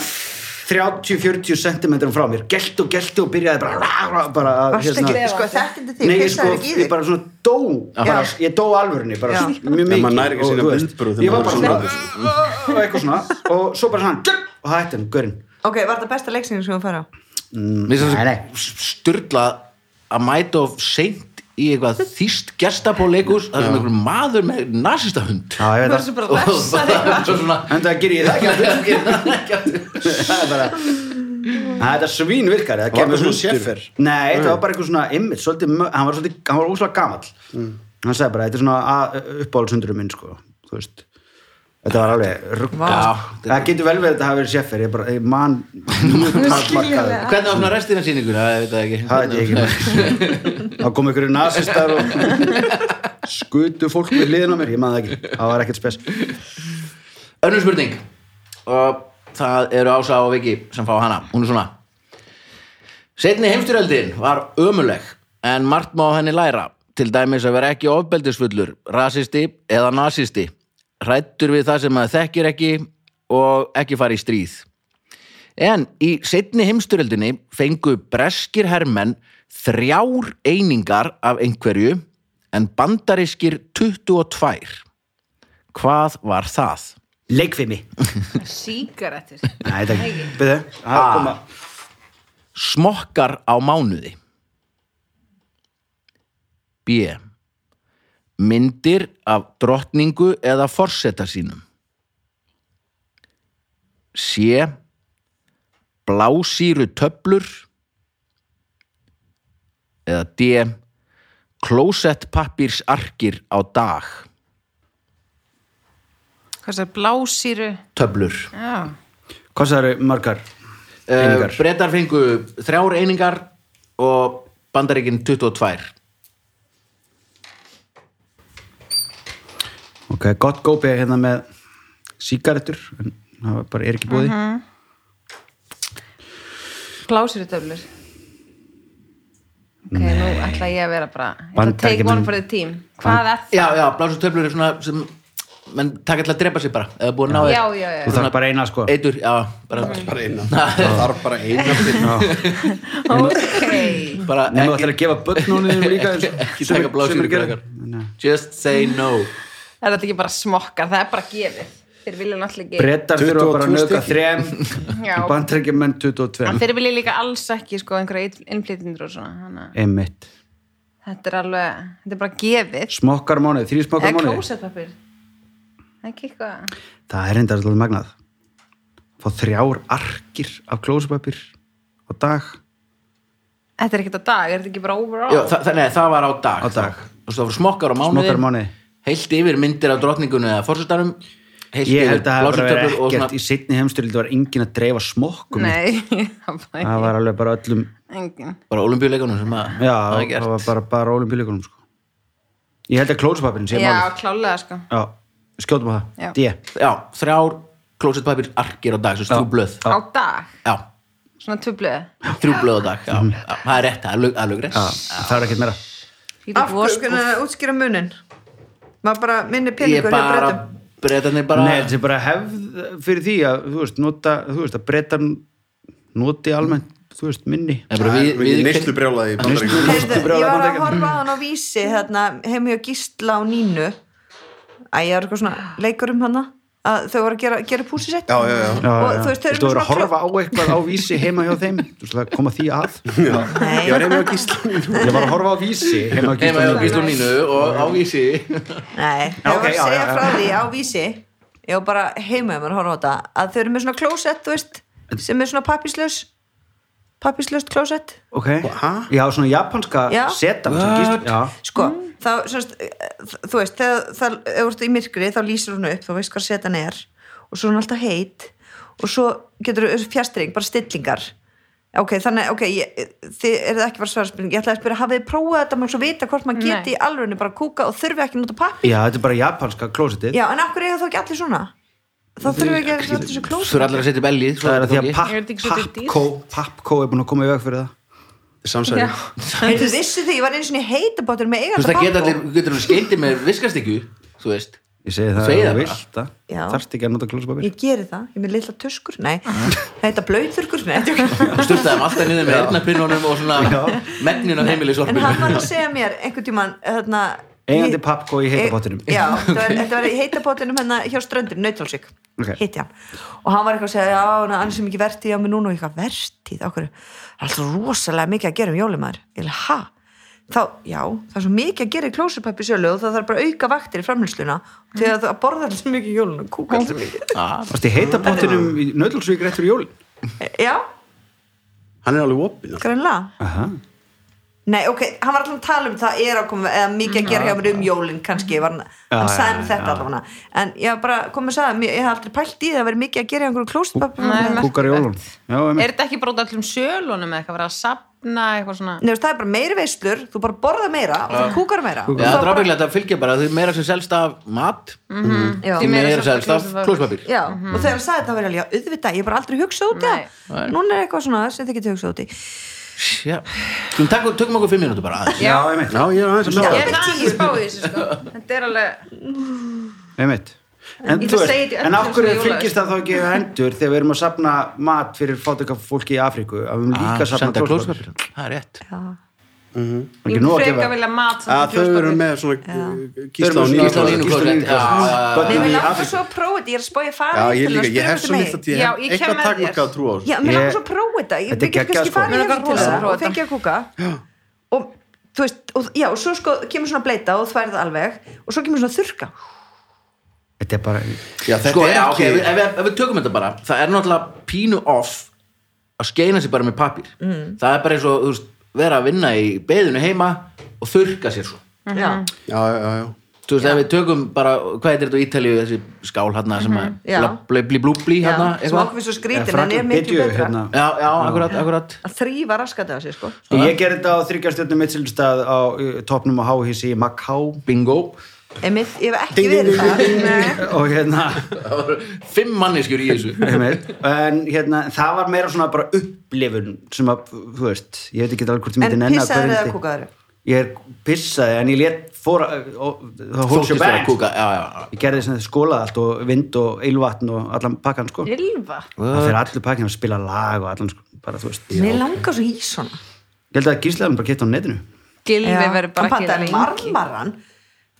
Speaker 4: 30-40 cm frá mér gelt og gelt og byrjaði bara, bara, bara að,
Speaker 2: Varstu ekki, sko, þekkindi þig,
Speaker 4: Nei, ég
Speaker 2: pissaði
Speaker 4: sko,
Speaker 2: ekki í
Speaker 4: ég
Speaker 2: þig?
Speaker 4: bara svona dó bara,
Speaker 2: Já.
Speaker 4: ég dó alvörunni, bara
Speaker 2: Já.
Speaker 4: svona mjög
Speaker 3: Já,
Speaker 4: mikið
Speaker 3: maður nær ekki
Speaker 4: og
Speaker 3: sínum
Speaker 4: þú veist,
Speaker 3: blindbrögð þegar
Speaker 4: ég var
Speaker 3: maður
Speaker 4: bara
Speaker 3: er
Speaker 4: svona
Speaker 3: svona
Speaker 4: og eitthvað svona og svo bara svona og það hætti hann, gaurinn
Speaker 2: ok, var það besta leiksingin sem þú fara á
Speaker 1: Mér finnst
Speaker 4: Nei,
Speaker 1: það
Speaker 4: nei.
Speaker 1: svo styrla að mæta of seint í eitthvað þýst gestapóleikus það sem einhver maður með nasistahund
Speaker 4: Já, ég veit
Speaker 5: Verður
Speaker 4: það.
Speaker 5: svo bara
Speaker 1: og
Speaker 5: refsar
Speaker 1: það er svona
Speaker 4: en það gerir ég það ekki aftur. Það er bara Æ, þetta svín virkar það
Speaker 3: Var
Speaker 4: kemur
Speaker 3: þetta svona
Speaker 4: hundur.
Speaker 3: Schäfer?
Speaker 4: nei, þetta var bara eitthvað svona ymmit, svolítið, mö- hann var svolítið, hann var óslega gamall hann sagði bara, þetta er svona uppáhaldsundurum minn, sko, þú veist þetta var alveg rugga
Speaker 1: Já,
Speaker 4: það getur vel verið að þetta hafi verið Schäfer ég bara, ég man
Speaker 5: Skiljanlega.
Speaker 4: það
Speaker 1: hvernig opnar restina sýninguna, það veit það ekki
Speaker 4: veit ég ekki <laughs> þá kom einhverju nasistar og <laughs> skutu fólk við liðin á mér, ég man það ekki það var ekkert spes
Speaker 1: Önnur spurning og það eru Ása og Viki sem fá hana, hún er svona Setni heimstyröldin var ömuleg en margt má af henni læra til dæmis að vera ekki ofbeldisfullur rasisti eða nasisti hrættur við það sem maður þekkir ekki og ekki fara í stríð En í setni heimstyröldinni fengu breskir hermenn þrjár einingar af einhverju en bandariskir 22 Hvað var það?
Speaker 4: leikfimi,
Speaker 5: Sígarettir
Speaker 4: nei, þetta ekki byrðu, það
Speaker 1: Ah.
Speaker 4: koma
Speaker 1: smokkar á mánuði B myndir af drottningu eða forseta sínum C blásýru töflur eða D klósettpappirsarkir á dag
Speaker 5: Hvað það, blásýru
Speaker 1: töflur
Speaker 5: Já,
Speaker 4: Hvað það eru margar?
Speaker 1: uh,
Speaker 4: Einingar.
Speaker 1: Bretar fengu þrjár einingar og bandaríkin 22
Speaker 4: Ok, gott gópið hérna með sígarettur, en það var bara er ekki búið. Uh
Speaker 1: Mhm.
Speaker 5: blásýru töflur ok, nú ætla ég að vera bara ég ætla að take
Speaker 4: Bandaríkjamenn-
Speaker 5: one for the team hvað er það?
Speaker 1: já, já, blásu töflur er svona sem menn taka til að drepa sig bara eða búið að ná
Speaker 5: Já,
Speaker 1: þér.
Speaker 5: já, já.
Speaker 4: Þú þarf bara eina, sko.
Speaker 1: eitur, já, bara,
Speaker 3: bara
Speaker 1: <laughs>
Speaker 3: eina það þarf bara eina
Speaker 5: ok
Speaker 1: bara
Speaker 4: Nú ætlar að gefa börnunum
Speaker 1: <laughs>
Speaker 4: líka eins og-
Speaker 1: ekki
Speaker 4: sem er-
Speaker 1: taka blásu
Speaker 4: sem er að gera.
Speaker 1: just say no
Speaker 5: Það er þetta ekki bara smokkar, það er bara gefið. Þeir vilja náttúrulega ekki...
Speaker 4: Brettar þurfa bara að
Speaker 3: 22
Speaker 4: nöka
Speaker 3: stykki.
Speaker 4: þrem
Speaker 1: <laughs>
Speaker 5: Já.
Speaker 4: Bandaríkjumenn
Speaker 5: En
Speaker 4: 22
Speaker 5: þeir vilja líka alls ekki sko einhverja ill- innflytjendur og svona. Þannig að
Speaker 4: Einmitt
Speaker 5: þetta er alveg, þetta er bara gefið.
Speaker 4: Smokkar mánuði, þrý
Speaker 1: Eh,
Speaker 4: smokkar
Speaker 5: Eða
Speaker 4: mánuði
Speaker 5: klósetpapir. Það er ekki eitthvað.
Speaker 4: Það er enda alltaf magnað Fá þrjár arkir af klósupapir á dag
Speaker 5: Þetta er ekkert á dag, er þetta ekki bara overall?
Speaker 1: já, það, nei, það var á dag
Speaker 4: Á dag.
Speaker 1: Þú veist, það voru smokkar á mánuði
Speaker 4: Smokkar á mánuði.
Speaker 1: heilt yfir myndir af drottningunni eða fórsetanum heilt
Speaker 4: Ég
Speaker 1: yfir
Speaker 4: held að það hafa
Speaker 1: blásu
Speaker 4: bara verið
Speaker 1: töflur og
Speaker 4: ekkert
Speaker 1: svona
Speaker 4: Í sittni heimstyrlið var engin að dreifa smokkum
Speaker 5: Nei, <laughs> það var
Speaker 4: Það
Speaker 5: ekki
Speaker 4: var alveg bara öllum
Speaker 5: engin.
Speaker 1: bara olimpíuleikunum sem að
Speaker 4: Já,
Speaker 1: að hafa
Speaker 4: það
Speaker 1: gert.
Speaker 4: var bara, bara ólimpíuleikunum sko. Ég held að klósupapirinn sé
Speaker 5: Já,
Speaker 4: málið
Speaker 5: klálega sko.
Speaker 4: Já, skjótum á
Speaker 5: Já.
Speaker 4: það D
Speaker 1: já, þrjár klósetpapir arkir á dag, svo þrjú blöð
Speaker 5: Á dag,
Speaker 1: já,
Speaker 5: svona tubluð.
Speaker 1: þrjú blöð á dag já, já, það er rétt, það er alveg- alveg rétt
Speaker 4: Mhm. Já, Það er ekkert meira
Speaker 2: af hverju hvernig að útskýra munin maður bara minni
Speaker 1: ég
Speaker 2: peningur hjá
Speaker 1: bara <laughs>
Speaker 2: brettum
Speaker 1: breytanir bara
Speaker 4: Nei, þetta er bara hefð fyrir því að þú veist, nota, þú veist, að breytan noti almennt, þú veist, minni
Speaker 1: Það er bara við, við,
Speaker 3: neyslu brjálaði í bandaríkjum
Speaker 2: Heyrðu,
Speaker 4: Þú
Speaker 2: ég
Speaker 4: brjálar
Speaker 2: var að
Speaker 4: Bandaríkjamenn.
Speaker 2: horfa á hann á vísi þarna, heim ég gísla á nínu Æ, ég var eitthvað svona leikur um hana að þau voru að gera, gera púsi sitt
Speaker 3: Já, já, já.
Speaker 4: Já,
Speaker 2: og
Speaker 4: já,
Speaker 2: þú veist, þau
Speaker 4: já.
Speaker 2: eru
Speaker 4: Þú
Speaker 2: með
Speaker 4: verður að
Speaker 2: svona
Speaker 4: horfa á eitthvað á vísi heima hjá þeim Þú veist, það koma því
Speaker 1: <laughs>
Speaker 4: að
Speaker 2: Nei.
Speaker 3: ég var heima á gíslan
Speaker 4: Ég var að horfa á vísi heima á
Speaker 1: heima
Speaker 4: Gísla
Speaker 1: á Gíslun Nínu og ávísi
Speaker 2: Nei, þau
Speaker 4: Já,
Speaker 2: voru
Speaker 4: ok,
Speaker 2: að
Speaker 4: já,
Speaker 2: segja
Speaker 4: já, já.
Speaker 2: frá því á vísi ég var bara heima um að horfa á þetta að þau eru með svona klósett, þú veist sem er svona pappislaus pappislaust klósett
Speaker 4: Ok, já, svona japanska
Speaker 2: Já.
Speaker 4: setup sem
Speaker 1: What?
Speaker 4: Gísla- Já,
Speaker 2: sko, þá, semst, eh, þú veist þegar það eru í myrkri, þá lýsir hún upp þá veist hvað setan er og svo er hún alltaf heit og svo getur þú fjastring, bara stillingar ok, þannig, ok, ég, þið er það ekki bara svarspilning, ég ætlaði að spyrja, hafið þið prófað þetta maður svo vita hvort maður
Speaker 5: Nei.
Speaker 2: geti í alvegni bara kúka og þurfi ekki að nota pappi
Speaker 4: já, þetta er bara japanska klósitið
Speaker 2: já, en af hverju eiga þá ekki allir svona þá þurfum við ekki að þetta svo klósa
Speaker 1: þurfa allir að setja upp ellið svo
Speaker 4: Það er að því að
Speaker 1: gangi.
Speaker 5: Ég veit ekki
Speaker 4: papp-
Speaker 5: svo til dís.
Speaker 4: pappkó Pappkó er búin að koma í veg fyrir það
Speaker 3: samsæri
Speaker 2: heyrðu vissu því, ég var einu sinni heitabátur með
Speaker 1: þú
Speaker 2: eiganda
Speaker 1: veist það geta allir,
Speaker 2: pappó.
Speaker 1: getur allir skeiti með viskastikju þú veist,
Speaker 4: Ég segi það
Speaker 1: Segðu það
Speaker 4: að þú
Speaker 1: bara.
Speaker 4: vilt það.
Speaker 2: Já.
Speaker 4: Þarft ekki að nota klósupapir
Speaker 2: ég geri það, ég er með litla tuskur nei, heita blauðurkur
Speaker 1: <laughs>
Speaker 2: nei, þetta er ekki
Speaker 1: sturtaðum alltaf niður með erðnapinnunum og svona megnin af
Speaker 2: en hann
Speaker 1: heimilisvarpinu
Speaker 2: var að segja mér einhvern tímann hérna,
Speaker 4: Eigandi
Speaker 2: í-
Speaker 4: pappkó í heita pottinum.
Speaker 2: e-
Speaker 4: <laughs>
Speaker 2: já, þetta var- þetta var í heitabótinum hérna hjá ströndir, Nautalsvík
Speaker 4: Ok.
Speaker 2: hitti hann og hann var eitthvað að segja já, hann hann er sem ekki vertið á mig núna og eitthvað vertið, okkur, það er alltaf rosalega mikið að gera um jólumar, ég er ha þá, já, það er svo mikið að gera í klósupappi sölu og það þarf bara að auka vaktir í framhengsluna þegar það borða alltaf mikið í jólunum kúka alltaf mikið,
Speaker 4: Varst í heita pottinum í nöðlsvík rétt fyrir jólin
Speaker 2: já,
Speaker 3: hann er alveg opinn
Speaker 2: greinlega
Speaker 4: Aha.
Speaker 2: Nei, ok, hann var alltaf að tala um það er að koma, eða mikið að gera hjá mér um jólin kannski, var hann, hann
Speaker 4: já,
Speaker 2: sagði um
Speaker 4: já,
Speaker 2: þetta allavega, en ég var bara kom að sagði, ég hef aldrei pælt í það að vera mikið að gera hjá einhverju klóstpappi,
Speaker 5: Nei,
Speaker 2: nei,
Speaker 5: merkilegt.
Speaker 4: Kúkar í jólunum. Já, einmitt.
Speaker 5: Er þetta ekki bróta allum sölunum eða eitthvað, verið að sapna eitthvað svona?
Speaker 2: þú veist, það er bara meiri veislur þú bara borða meira og þú kúkar meira
Speaker 1: Já, það er ábyggilegt að fylgja bara því meira sem selst af mat
Speaker 4: Mhm.
Speaker 2: Já.
Speaker 1: því meira sem selst af
Speaker 5: klósettpapír.
Speaker 1: klóspapir
Speaker 2: Já,
Speaker 5: Mhm.
Speaker 2: og þegar hann sagði það var ég alveg, já, auðvitað, ég hef bara aldrei hugsað út í
Speaker 5: Nei.
Speaker 2: það núna er eitthvað svona sem þið getur hugsað út í
Speaker 1: Skulum taka- tökum okkur fimm mínútur bara aðeins
Speaker 4: Já, einmitt.
Speaker 3: já, ég er aðeins að
Speaker 5: Ég
Speaker 3: sjá
Speaker 5: er það ekki spáð í þessu sko. Þetta er alveg,
Speaker 4: einmitt En, þú
Speaker 5: Ég ætla að
Speaker 4: veist,
Speaker 5: segja þetta í
Speaker 4: en
Speaker 5: öllum
Speaker 4: af hverju
Speaker 5: svona
Speaker 4: fylgist það þá ekki við hendur þegar við erum að sapna mat fyrir fátöka fólki í Afríku að við erum líka
Speaker 1: Ah,
Speaker 4: að sapna
Speaker 1: senda
Speaker 4: klóspapir
Speaker 1: klóspapir, það er rétt
Speaker 5: ég
Speaker 4: Ekki nú að
Speaker 5: myndi
Speaker 4: gefa
Speaker 5: freka vilja mat samt
Speaker 3: að
Speaker 5: í
Speaker 3: þau eru
Speaker 5: klósettpapír.
Speaker 3: með svona uh,
Speaker 4: Þau
Speaker 3: gísla og
Speaker 4: eru með
Speaker 1: Gísla
Speaker 3: nýja
Speaker 1: og Nínu
Speaker 4: Gísla og Nínu
Speaker 1: klóspapir Já,
Speaker 4: klósett.
Speaker 1: já,
Speaker 4: Börnin
Speaker 2: Nei,
Speaker 4: í
Speaker 2: mér langar
Speaker 4: Afríku.
Speaker 2: svo að prófa þetta, ég er að spája fara
Speaker 3: já,
Speaker 2: í
Speaker 3: ég
Speaker 2: til að spyrja
Speaker 3: líka, ég hef
Speaker 2: út
Speaker 3: svo
Speaker 2: um
Speaker 3: litla
Speaker 2: megin.
Speaker 3: tíð
Speaker 5: Já,
Speaker 3: ég
Speaker 5: ég
Speaker 3: hef eitthvað
Speaker 5: kem með þér.
Speaker 3: takmarkað trú á þessu
Speaker 2: Já, mér
Speaker 4: Ég-
Speaker 2: langar svo að prófa þetta Ég
Speaker 4: Þetta er
Speaker 2: við getum
Speaker 4: geggjað,
Speaker 2: kannski
Speaker 4: sko.
Speaker 2: farið
Speaker 5: Mér
Speaker 2: hérna
Speaker 5: langar
Speaker 2: til
Speaker 5: rosa að
Speaker 2: það
Speaker 5: prófa
Speaker 2: og
Speaker 5: þetta.
Speaker 2: fengið að kúka og þú veist, og, já, og svo sko kemur svona bleita og þværið alveg og svo kemur svona þurrka
Speaker 4: Þetta er bara
Speaker 3: já, þetta
Speaker 1: Sko,
Speaker 3: er
Speaker 1: já, ok,
Speaker 3: ekki
Speaker 1: ef, við- ef, við- ef við tökum þetta bara það er náttúrulega pínu off að skeina sér bara með pappir mm. það er bara eins og, þú veist, vera að vinna í beðinu heima og þurrka sér svo
Speaker 2: já,
Speaker 3: já, já, já, já.
Speaker 1: þú veist, ef við tökum bara, hvað heitir þetta á Ítalíu þessi skál hérna sem að
Speaker 2: Já.
Speaker 1: bla- bla- blí blúblí
Speaker 2: já,
Speaker 1: hérna,
Speaker 2: sem
Speaker 1: eitthvað
Speaker 2: okkur finnst svo
Speaker 4: Eða
Speaker 2: skrítin en
Speaker 4: Frakkland
Speaker 2: er miklu
Speaker 4: Bedju,
Speaker 2: betra
Speaker 4: Eh, hérna.
Speaker 1: já, já, akkurat, akkurat
Speaker 2: að þrýfa raskat af sér sko
Speaker 4: Ég gerði þetta á þryggjastjörnum mittsildstað á uh, topnum á háhísi í Maká
Speaker 1: bingo
Speaker 2: Einmitt, ég hef ekki
Speaker 3: Ding, ding,
Speaker 2: verið
Speaker 3: ding,
Speaker 2: það
Speaker 5: Nei.
Speaker 4: og hérna,
Speaker 1: Það voru fimm manneskjur í <laughs> þessu
Speaker 4: einmitt, en hérna það var meira svona bara upplifun sem að, þú veist, ég veit ekki alveg hvort ég myndi
Speaker 2: En
Speaker 4: nenni að
Speaker 2: pissaður
Speaker 4: hverjandi-
Speaker 2: eða kúkaður
Speaker 4: ég er pissaði en ég let fóra og, það hóks
Speaker 1: Þóttist
Speaker 4: ég
Speaker 1: þér að
Speaker 4: bæn
Speaker 1: kúka Já, já, já
Speaker 4: ég gerði sem þið skólaði allt og vind og eilvatn og allan pakkan sko
Speaker 5: Ylva
Speaker 4: það fyrir allir pakkan að spila lag og allan sko bara þú veist
Speaker 2: Mér langar svo í svona
Speaker 4: ég held að gíslaðum bara geta á netinu
Speaker 5: Gilvi
Speaker 2: Já.
Speaker 5: verður bara
Speaker 2: Hann
Speaker 5: ekki
Speaker 2: pantaði marmaran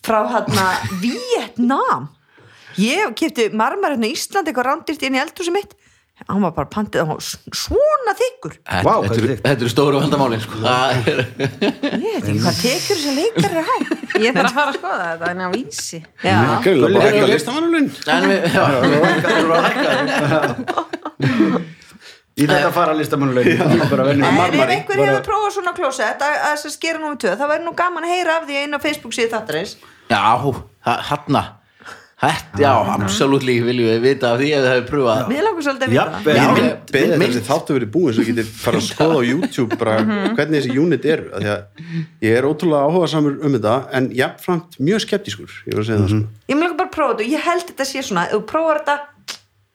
Speaker 2: frá
Speaker 5: <laughs>
Speaker 2: hérna Vietnam ég kefti marmaran í Íslandi eitthvað rándirt inn í eldhúsi mitt hann var bara pantið hann var svona þykkur
Speaker 1: Þetta,
Speaker 4: Vá,
Speaker 1: þetta,
Speaker 4: hvað er
Speaker 1: eru-
Speaker 4: þykkt.
Speaker 1: þetta eru stóru vandamálin sko. Það er-
Speaker 2: ég veit ekki hvað tekur þessi leikar er hægt
Speaker 5: Ég þarf að fara að skoða þetta en á vísi
Speaker 2: Já.
Speaker 3: Gulli,
Speaker 4: bara-
Speaker 3: ekki að listamannulun
Speaker 1: En við, já, <laughs>
Speaker 4: ég þetta að fara að listamannulegin bara
Speaker 2: En
Speaker 4: venni
Speaker 2: ef
Speaker 3: marmari,
Speaker 2: einhver
Speaker 4: bara-
Speaker 2: hefur prófað svona klósett að, að sem skera númur 2, það væri nú gaman að heyra af því einn á Facebook síðu þáttarins
Speaker 1: já hanna Þetta, já, absolutt lík viljum við vita af því ef þið hefur pröfað
Speaker 2: Mér langar svolítið að vita
Speaker 4: jafnvel
Speaker 1: Já,
Speaker 4: mynd-
Speaker 1: ég-
Speaker 3: beðið
Speaker 1: mynd-
Speaker 3: þessi þáttu verið búin svo getið fara að skoða á YouTube bara
Speaker 5: Mhm.
Speaker 3: hvernig þessi unit eru af því að ég er ótrúlega áhuga samur um þetta en jafnframt mjög skeptískur ég var að segja sko.
Speaker 2: Ég mér langar bara að prófa þetta og ég held þetta sé svona, ef þú prófar þetta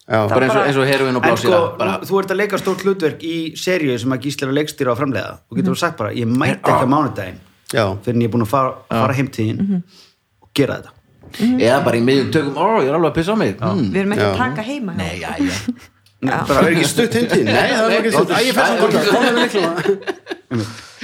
Speaker 3: það sko.
Speaker 1: bara eins og, eins og heroin og
Speaker 4: en sko,
Speaker 1: blásýra bara,
Speaker 4: nú- þú ert að leika stórt hlutverk í seríu sem að gíslar og leikstýra og framleiða og
Speaker 1: Mhm.
Speaker 4: getur þú sagt bara, ég
Speaker 1: Eh,
Speaker 4: mæti
Speaker 1: ah.
Speaker 4: ekki á mánudaginn
Speaker 3: Já.
Speaker 4: fyrir en ég er búin að fara, fara heimtíðin
Speaker 1: Mhm.
Speaker 4: og gera þetta
Speaker 1: Eða bara í miðjum tökum, ó, ég er alveg að pissa á mig mm.
Speaker 2: Við erum ekki að
Speaker 3: Já.
Speaker 2: taka heima
Speaker 1: Nei, já, já
Speaker 3: það er ekki stutt hindi nei, það er ekki stutt
Speaker 1: Nei,
Speaker 3: Æ, ég fer samt
Speaker 1: það er-
Speaker 3: þangað, komdu með lyklana.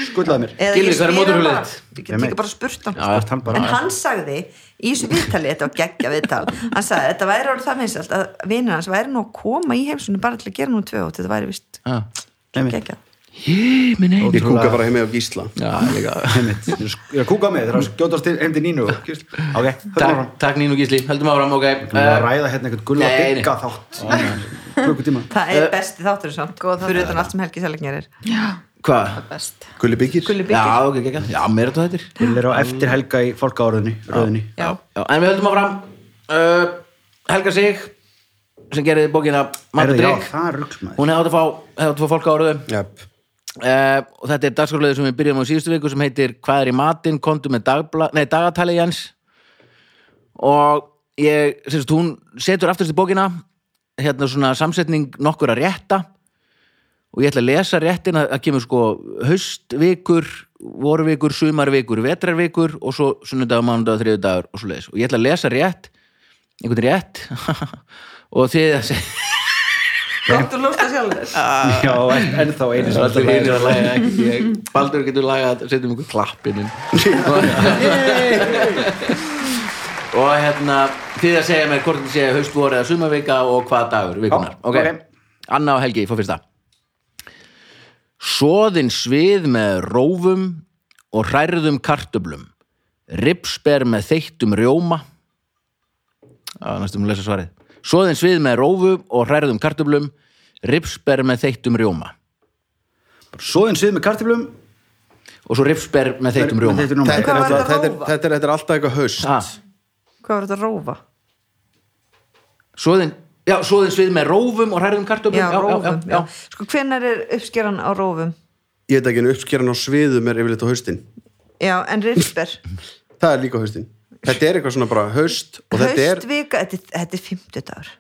Speaker 4: skullaði mér
Speaker 2: Eða
Speaker 1: Gylfi, hvar er
Speaker 2: ég spyr hann
Speaker 1: mótorhjólið
Speaker 2: bara.
Speaker 1: þitt?
Speaker 2: Ég get ekki bara spurt hann
Speaker 1: Já,
Speaker 4: Hvort hann bara-
Speaker 2: en hann sagði í þessu viðtali, þetta var geggja viðtal hann sagði, þetta væri orðið það minnst að vinnur hans væri nú að koma í heimsunni bara til að gera nú tvö og þetta væri vist
Speaker 1: já.
Speaker 4: Einmitt.
Speaker 2: geggja
Speaker 1: Ég, minn ein
Speaker 3: ég kúka bara heim með á gísla
Speaker 1: Já, líka
Speaker 4: Einmitt. Ég er að- ég er að kúka á mig, það er að skjótast til- heim til Nínu og- ok, höfum
Speaker 1: Takk,
Speaker 4: áfram
Speaker 1: takk Nínu Gísli, heldum áfram, ok Eh,
Speaker 4: Við erum að ræða hérna einhvern
Speaker 1: Nei,
Speaker 4: gulla
Speaker 1: nei.
Speaker 4: bygga þátt klukkutíma
Speaker 2: það er besti þáttur samt,
Speaker 5: Góð þáttur.
Speaker 2: fyrir utan allt sem Helgi Selingjar er
Speaker 1: Hvað?
Speaker 5: Best
Speaker 3: gulli byggir
Speaker 2: Gulli
Speaker 1: Já, ok,
Speaker 2: byggir,
Speaker 1: ekki, já, mér er þetta hættir
Speaker 4: Gull er á eftir helga í fólkáruðinni röðinni
Speaker 1: já. já, en við höldum áfram uh, Helga Sig sem gerði bókina
Speaker 4: Herðu, já,
Speaker 1: Matadrygg
Speaker 4: það er ruggmaður
Speaker 1: hún hefði átt að fá, hefði átt að fá fólk á orðu
Speaker 3: Jep.
Speaker 1: uh, og þetta er dagskorleður sem við byrjum á í síðustu viku sem heitir Hvað er í matinn, kontu með dagbla, nei, dagatali Jens og ég, sem sagt, hún setur afturst í bókina hérna svona samsetning nokkur að rétta og ég ætla að lesa réttin að, að kemur sko haustvikur, vorvikur, sumarvikur vetrarvikur og svo sunnudag, mánudag, þriðudagur og svo leis og ég ætla að lesa rétt einhvern rétt <laughs> og þið að segja
Speaker 2: gott og lústa sjálfur
Speaker 4: já, en- ennþá einu sem
Speaker 1: Allir
Speaker 4: alltaf
Speaker 1: hinir
Speaker 4: ræðir
Speaker 1: að læga ekki ég. Baldur getur lagað, setjum ykkur klappinn inn <laughs> Og hérna Þið að segja mér hvort þið sé haustvor eða sumavika og hvað dagur vikunar
Speaker 4: Já, ok.
Speaker 1: Anna og Helgi, fór fyrsta Soðin svið með rófum og hrærðum kartöblum Ripsber með þeittum rjóma Já, næstum að lesa svarið Soðin svið með rófum og hrærðum kartöblum Ripsber með þeittum rjóma
Speaker 4: svo einn svið með kartiflum
Speaker 1: og svo rifsber með þeittum rjóma
Speaker 4: þetta er
Speaker 3: þetta
Speaker 4: núna
Speaker 3: er
Speaker 2: Hvað var
Speaker 3: náttúrulega-
Speaker 2: þetta
Speaker 3: þetta er-
Speaker 2: rófa?
Speaker 3: þetta er- þetta er alltaf eitthvað haust
Speaker 1: ha,
Speaker 2: hvað var þetta að rófa?
Speaker 1: svoðin, já, svoðin svið með rófum og hræðum kartöflum
Speaker 2: já, rófum,
Speaker 1: já, já,
Speaker 2: já sko hvenær er uppskeran á rófum?
Speaker 3: ég veit ekki en uppskeran á sviðum er yfirleitt á haustin
Speaker 2: já, en rinsber
Speaker 3: það er líka á haustin þetta er eitthvað svona bara haust og þetta er,
Speaker 2: höstvika, þetta er, þetta er fimmtudagur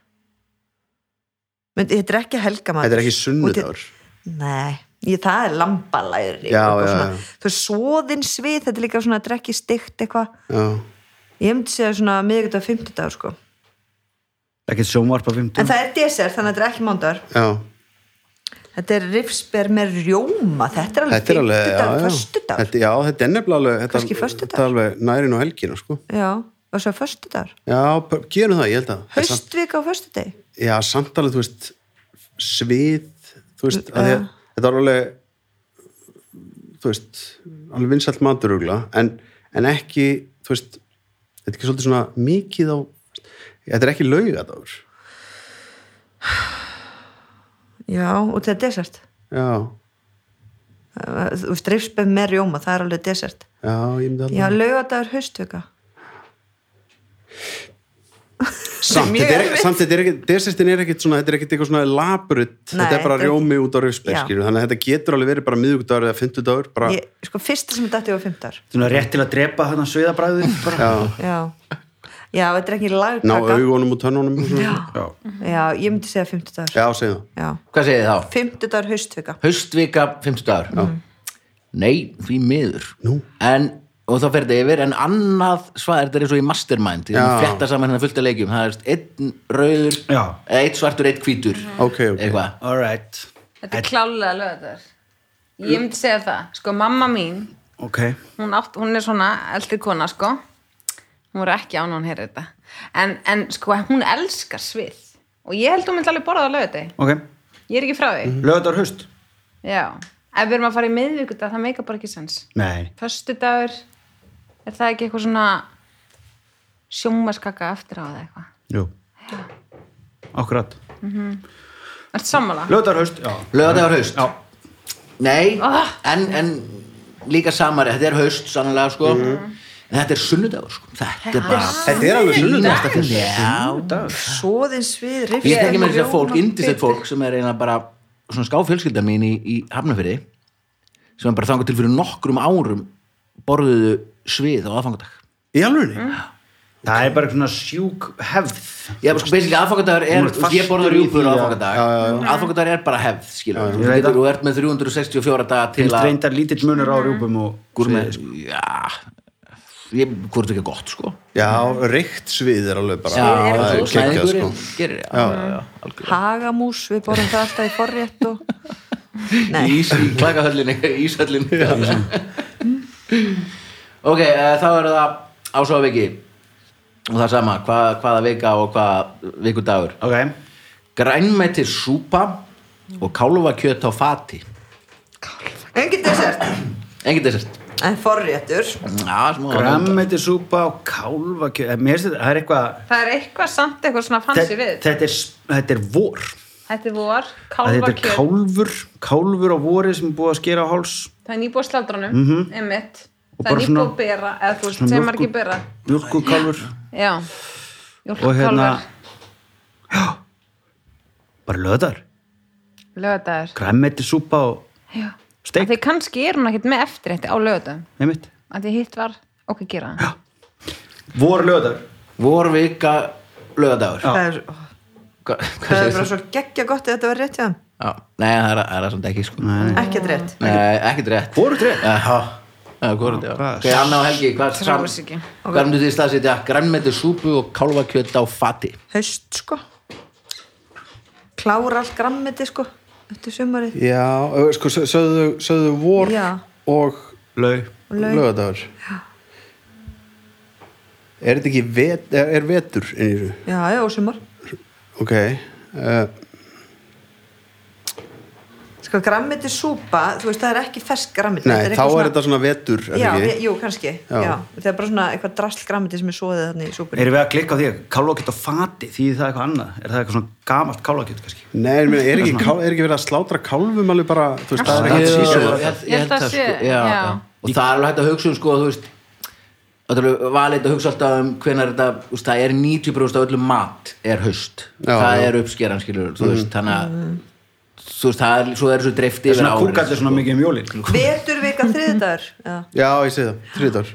Speaker 2: Men þetta er ekki helgamaður
Speaker 3: þetta er ekki sunnudagur
Speaker 2: Nei, ég, það er lambalæri
Speaker 3: Já,
Speaker 2: eitthvað
Speaker 3: já,
Speaker 2: svona,
Speaker 3: já.
Speaker 2: Þú veist, svoðin svið, þetta er líka svona að drekki stygt eitthvað
Speaker 3: já
Speaker 2: Ég myndi segja svona miðvikudag og fimmtudagur sko
Speaker 4: ekki sjónvarp á
Speaker 2: En
Speaker 4: 15
Speaker 2: það er desert, þannig að þetta er ekki mándagur
Speaker 3: Já,
Speaker 2: Þetta er rifsber með rjóma Þetta er alveg
Speaker 3: þetta er alveg, já,
Speaker 2: fimmtudagur,
Speaker 3: já.
Speaker 2: föstudagur
Speaker 3: Þetta, já, þetta er nefnilega alveg, þetta,
Speaker 2: Kannski föstudagur.
Speaker 3: þetta er alveg nærin og helgina, sko.
Speaker 2: Já, var svo föstudagur
Speaker 3: Já, p- gerum það, ég held að. En samt-
Speaker 2: Höstvika á föstudegi
Speaker 3: Já, samtalið, þú veist, svið, þú veist, að því að þetta er alveg, þú veist, alveg vinsælt maturugla, en, en ekki, þú veist, þetta er ekki svolítið svona mikið á, þetta er ekki laugadagur.
Speaker 2: Já, og þetta er desert
Speaker 3: Já,
Speaker 2: Uh, Þú veist, rifsber með rjóma, það er alveg desert
Speaker 3: já, ég myndi
Speaker 2: Já,
Speaker 3: alveg.
Speaker 2: laugadagur höstvika
Speaker 3: samt,
Speaker 5: mjög
Speaker 3: þetta er,
Speaker 5: erfitt.
Speaker 3: samt þetta er ekki, desistin er ekkit svona, þetta er ekkit eitthvað svona laburitt,
Speaker 2: Nei,
Speaker 3: þetta er bara
Speaker 2: þetta-
Speaker 3: rjómi út á rauðspeð,
Speaker 2: Já.
Speaker 3: skilur, þannig að þetta getur alveg verið bara miðugdagur eða fymtudagur, bara,
Speaker 2: ég, sko fyrsta sem þetta var fymtar
Speaker 4: Svona rétt til að drepa þarna sviðabræði bara.
Speaker 3: já,
Speaker 2: já, já, þetta er ekki
Speaker 3: ná
Speaker 2: lagkaka
Speaker 3: augunum og tönnunum og svona.
Speaker 4: Já.
Speaker 2: já, ég myndi segja fymtudagur
Speaker 3: já, segja það.
Speaker 2: já,
Speaker 1: Hvað segið þið þá?
Speaker 2: fymtudagur haustvika
Speaker 1: Haustvika, 50 dagar
Speaker 2: Mm.
Speaker 1: Nei, því miður Nú. En, og þá fer þetta yfir En annað svað, þetta er eins og í mastermind Því
Speaker 3: Já.
Speaker 1: fjætta saman hennar fullt að leikjum Það er einn rauður,
Speaker 4: Já.
Speaker 1: eða einn svartur, einn hvítur
Speaker 3: Ok, ok.
Speaker 1: Eitthvað
Speaker 4: All right.
Speaker 5: Þetta er klálega lögðar. Ég myndi segja það, sko, mamma mín,
Speaker 4: Ok.
Speaker 5: hún, átt, hún er svona eldri kona, sko. Hún voru ekki án hún heyrir þetta. En, en sko, hún elskar svið. Og ég held hún myndi alveg borða á lögði.
Speaker 4: Ok.
Speaker 5: Ég er ekki frá því.
Speaker 4: Löðar haust?
Speaker 5: Já. Ef við erum að fara í miðvikudag, það meika bara ekki sens.
Speaker 4: Nei.
Speaker 5: Föstudagur, er það ekki eitthvað svona sjómaskaka eftir á það eitthvað?
Speaker 4: Jú. Akkurat.
Speaker 5: Ertu sammála?
Speaker 4: Löðar haust? Já.
Speaker 1: Lögðar haust
Speaker 4: Já.
Speaker 1: Nei,
Speaker 5: Ah.
Speaker 1: en, en líka samar Þetta er haust, sannlega, sko
Speaker 4: Mhm.
Speaker 1: En þetta er sunnudagur, sko Þetta er bara
Speaker 3: Þetta er alveg sunnudagur.
Speaker 1: Já,
Speaker 2: svoðin svið,
Speaker 1: Ég þekki
Speaker 2: rifst
Speaker 1: með þess að fólk, indisett fólk sem er eiginlega bara svona skáfjölskylda mín í, í Hafnafyrði sem er bara þangur til fyrir nokkrum árum borðuðu svið á aðfangadag
Speaker 3: Í alveg?
Speaker 4: Það er bara svona sjúk hefð.
Speaker 1: Já, bara sko, basically aðfangadagur
Speaker 4: Hún
Speaker 1: er,
Speaker 4: er
Speaker 1: þú veist, ég borða
Speaker 4: fastur í
Speaker 1: rjúpur á
Speaker 4: því, já.
Speaker 1: aðfangadag aðfangadagur er bara hefð, skilur
Speaker 4: Ég
Speaker 1: þú
Speaker 4: veit
Speaker 1: getur,
Speaker 4: það.
Speaker 1: þú ert með 364 daga til
Speaker 4: Finnst
Speaker 1: að
Speaker 4: reyndar lítill munur
Speaker 2: Mm.
Speaker 4: á rjúpum og
Speaker 1: gúrme,
Speaker 4: sviði, sko.
Speaker 1: já ég, hvort ekki gott, sko
Speaker 3: Já, reykt svið er alveg bara,
Speaker 1: Já, þú
Speaker 3: það er geggjað, sko.
Speaker 1: snæðingurinn gerir, já, já, já, algjörlega
Speaker 2: hagamús, við borum það alltaf í forrétt og
Speaker 1: í
Speaker 2: nei,
Speaker 1: ís, í klakahöllinni, í íshöllinni <laughs> ok, eh, þá eru það ásóðaviki og það sama, hva, hvaða vika og hvaða vikudagur
Speaker 4: Ok.
Speaker 1: grænmeti súpa og kálfakjöt á fati
Speaker 2: engin dessert
Speaker 1: engin dessert
Speaker 2: en forréttur
Speaker 1: Já, smá-
Speaker 4: Grammeti súpa og kálvakjöð. Mér finnst þetta, það er eitthvað...
Speaker 5: Það er eitthvað samt eitthvað svona fancy
Speaker 4: Þetta,
Speaker 5: við.
Speaker 4: þetta, er, þetta er vor.
Speaker 5: Þetta er vor,
Speaker 4: Að Þetta er
Speaker 5: kálfakjöt.
Speaker 4: kálfur. Kálfur á vori sem er búið að skera á háls.
Speaker 5: Það er nýbúið slátrunum, mm -hmm. emitt.
Speaker 4: Mhm. Og
Speaker 5: Það er
Speaker 4: bara
Speaker 5: nýbúið
Speaker 4: svona-
Speaker 5: að bera, eða þú veist,
Speaker 4: svona
Speaker 5: sem
Speaker 4: mjólkur-
Speaker 5: margir bera.
Speaker 4: Mjölkukálfur.
Speaker 5: Já.
Speaker 4: Og
Speaker 5: Jólkálvar,
Speaker 4: hérna...
Speaker 5: hérna...
Speaker 4: Já. <gasps> Bara löðar.
Speaker 5: lögadagur.
Speaker 4: Grammeti súpa og...
Speaker 5: Já.
Speaker 4: Steik.
Speaker 5: Af Því kannski er hún ekkert með eftir þetta á lögadagum.
Speaker 4: Einmitt.
Speaker 5: Af Því hitt var okkur gera það.
Speaker 4: Vor löðar.
Speaker 1: vor vika lögadagur
Speaker 2: það er,
Speaker 1: Hva- hvað
Speaker 2: það er
Speaker 1: segir
Speaker 2: bara
Speaker 1: þú?
Speaker 2: svo geggja gott ef þetta var rétt hjá þeim.
Speaker 1: Já, nei, það er það er samt ekki sko nei,
Speaker 2: ekkert rétt
Speaker 1: ekkert rétt
Speaker 4: Hvorugt rétt?
Speaker 1: já Já, hvorugt, já.
Speaker 4: Hvað-
Speaker 1: ok, Anna og Helgi hvað
Speaker 5: Trúi
Speaker 1: sam-
Speaker 5: þessu ekki.
Speaker 1: hvað myndu þið staðsetja grænmeti súpu og kálfakjöt á fati
Speaker 2: haust sko klára allt grammiti sko eftir sumarið
Speaker 3: Já, ö, sko, sö- sögðu, sögðu vor
Speaker 2: Já.
Speaker 3: og
Speaker 4: Lau.
Speaker 2: Laug.
Speaker 3: lögadagur. Er þetta ekki vet, e, er, er vetur inn í þessu?
Speaker 2: já, já, og sumar
Speaker 3: Ok, uh,
Speaker 2: sko grammiti súpa, þú veist það er ekki fersk grammiti
Speaker 3: nei, þá er þetta svona vetur, er
Speaker 2: já,
Speaker 3: ekki?
Speaker 2: ég- jú, kannski, já.
Speaker 3: Já.
Speaker 2: það er bara svona eitthvað drasl grammiti sem er svoðið þannig í súpunni
Speaker 4: Erum við að klikka á því að kálvakjöt á fati því það er eitthvað annað? Er það eitthvað svona gamalt kálvakjöt kannski?
Speaker 3: Nei, ég meina, er ekki, kál, er ekki verið að slátra kálfum alveg bara, þú veist, það er
Speaker 1: Jú,
Speaker 3: ekki
Speaker 1: ég
Speaker 3: sísum
Speaker 1: held- ég held það,
Speaker 5: sé,
Speaker 1: sko, já,
Speaker 5: já.
Speaker 1: já. og það er alveg hægt að hugsa um sko, þú veist það er alveg valið að hugsa alltaf um hvenar þetta, þú veist, það er 90% af öllum mat er haust
Speaker 3: Já,
Speaker 1: það
Speaker 3: já. Mhm.
Speaker 1: er uppskeran skilur, þú veist, þannig að þú veist, það er, svo er þessu dreifti
Speaker 4: Það er svona
Speaker 1: yfir sko. árið,
Speaker 4: kúkandi svona mikið um jólin.
Speaker 2: vetur vika þriðdagur já.
Speaker 3: Já, ég segi það, þriðdagar,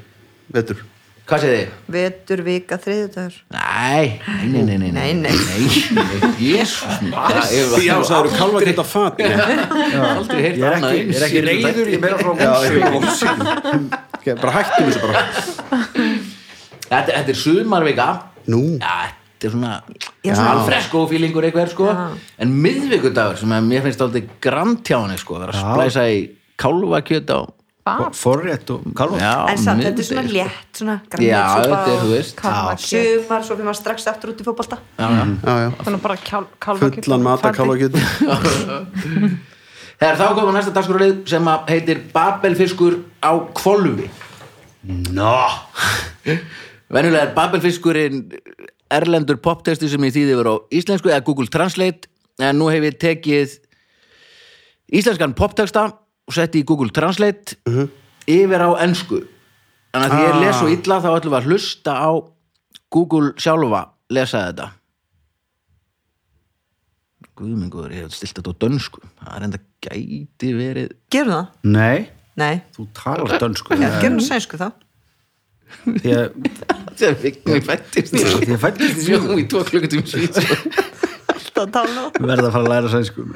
Speaker 3: vetur
Speaker 1: hvað segið þið?
Speaker 2: vetur vika þriðdagur
Speaker 1: Nei, nei, nei, nei,
Speaker 2: Nei, nei.
Speaker 1: nei, jésus
Speaker 3: Já, það eru kálfa geta fati
Speaker 1: aldrei heyrt
Speaker 4: Ég er
Speaker 1: annað
Speaker 4: ekki, ég er ekki reyður, ég meira frá
Speaker 3: Já,
Speaker 4: vonsku.
Speaker 3: ég er vonsinn Ok, bara hættum þessu bara
Speaker 1: þetta, þetta er sumarvika
Speaker 3: Nú,
Speaker 1: Já, þetta er svona
Speaker 2: Já, svona-
Speaker 1: alfresko fílingur eitthvað sko. en miðvikudagur sem að mér finnst aldrei grantjáni sko, að vera að splæsa í kálfakjöt á
Speaker 5: Hvað?
Speaker 4: Forrétt og kálvakjöt.
Speaker 1: já,
Speaker 2: en samt, þetta er svona
Speaker 1: miðdegi,
Speaker 2: létt svona
Speaker 1: sko. Já,
Speaker 2: grænmetisúpa
Speaker 1: þetta er, þú
Speaker 2: og
Speaker 1: veist
Speaker 5: Kálfakjöt.
Speaker 2: sumar, svo fyrir maður strax aftur út í fótbolta
Speaker 1: já, já.
Speaker 3: já, já
Speaker 5: Þannig bara kál, kálfakjöt.
Speaker 3: Fullan mata
Speaker 5: Fati.
Speaker 3: kálfa geta
Speaker 1: Þegar þá koma næsta dagskrálið sem að heitir Babelfiskur á kvolfi
Speaker 4: Nó.
Speaker 1: Venjulega er Babelfiskurinn erlendur poptesti sem ég þýði yfir á íslensku eða Google Translate en nú hef ég tekið íslenskan poptexta og setti í Google Translate yfir á ensku Ah. Þannig að því ég les svo illa þá ætlum við að hlusta á Google sjálfa lesa þetta guðmengur, ég hef stilt þetta á dönsku það er enda gæti verið
Speaker 2: gerum það?
Speaker 4: Nei,
Speaker 2: Nei,
Speaker 4: þú talar dönsku
Speaker 2: já, gerum það sænsku þá
Speaker 4: Því að
Speaker 1: þegar Vigni fættist í
Speaker 4: því að fættist í
Speaker 1: Svíþjóð í tvo klukkutum Svíþjóð
Speaker 2: Alltaf að tala um
Speaker 4: verða að fara að læra sænsku um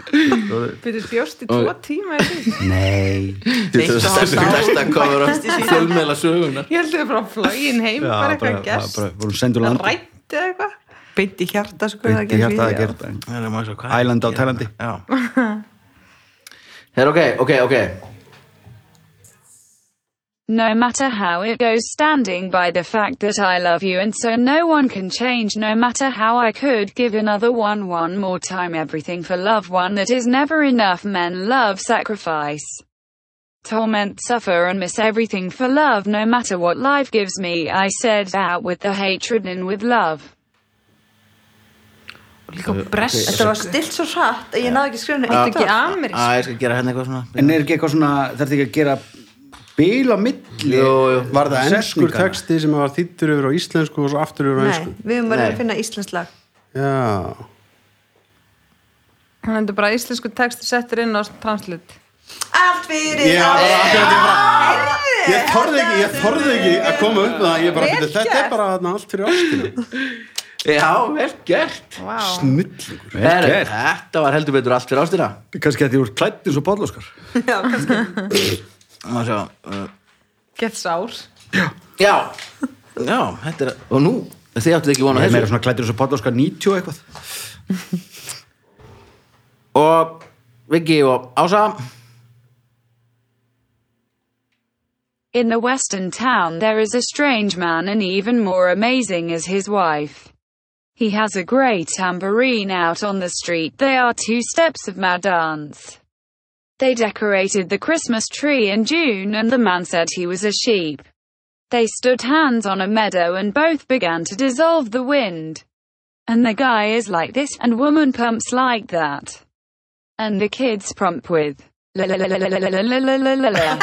Speaker 5: Byrjus bjóst í tvo tíma í því. <laughs>
Speaker 4: Nei
Speaker 1: þetta
Speaker 2: Neitt að
Speaker 1: er
Speaker 2: hafa
Speaker 1: stærsta cover af fjölmeðla söguna
Speaker 5: Ég held að bara flógin heim, bara eitthvað gerst.
Speaker 4: vorum sendur land
Speaker 5: Rætti eða eitthvað.
Speaker 2: Beint í hjarta sko það
Speaker 4: Beinti
Speaker 2: gerist
Speaker 4: hjarta að
Speaker 2: víða.
Speaker 4: gert það. Æland
Speaker 1: Ælanda
Speaker 4: á Tælandi.
Speaker 1: Já Her, ok, ok, ok
Speaker 6: No matter how it goes standing by the fact that I love you and so no one can change no matter how I could give another one one more time everything for love one that is never enough men love sacrifice. Torment suffer and miss everything for love no matter what life gives me I said out with the hatred and with love.
Speaker 5: Líka brest.
Speaker 2: Þetta var stilt svo hratt að ég náði ekki að skrifa
Speaker 5: Þetta er ekki
Speaker 2: neitt á.
Speaker 5: amerísk.
Speaker 1: Æ, ég skal gera henni eitthvað svona
Speaker 4: En er ekki eitthvað svona, þarf ekki að gera bíl á milli
Speaker 1: Jú, jú.
Speaker 3: Var það ennskur
Speaker 4: Setninganna.
Speaker 3: texti sem var þýttur yfir á íslensku og svo aftur yfir á
Speaker 2: Nei,
Speaker 3: einsku?
Speaker 2: við höfum verið
Speaker 1: Nei.
Speaker 2: að finna íslensk lag
Speaker 3: Já,
Speaker 5: Hann endur bara íslensku texti settur inn á translut.
Speaker 2: Allt fyrir
Speaker 3: Ég var
Speaker 2: ástina.
Speaker 3: akkurat,
Speaker 2: Heyrðu,
Speaker 3: ég bara- ég þorði ekki, ég þorði ekki að koma upp með það, ég bara,
Speaker 5: Vel
Speaker 3: "Bíddu, þetta er
Speaker 5: gert.
Speaker 3: bara þarna allt fyrir ástina.
Speaker 1: Já, vel gert
Speaker 5: Vá.
Speaker 3: Snillingur.
Speaker 4: Vel
Speaker 1: Her,
Speaker 4: gert.
Speaker 1: Þetta var heldur betur allt fyrir ástina
Speaker 4: Kannski að því úr klættin svo bóðlóskar
Speaker 2: Já, kannski
Speaker 1: Má sjá uh,
Speaker 5: Gett sár.
Speaker 1: Já, já, þetta er Og nú, þið áttuð ekki vona
Speaker 4: Ég er meira
Speaker 1: þessu
Speaker 4: svona klættir svo bóðlóskar 90 og eitthvað
Speaker 1: Og Viggi og Ása
Speaker 6: In the western town there is a strange man and even more amazing is his wife. He has a grey tambourine out on the street. They are two steps of mad dance. They decorated the Christmas tree in June and the man said he was a sheep. They stood hands on a meadow and both began to dissolve the wind. And the guy is like this and woman pumps like that. And the kids prompt with la la la la la la la la la la la la.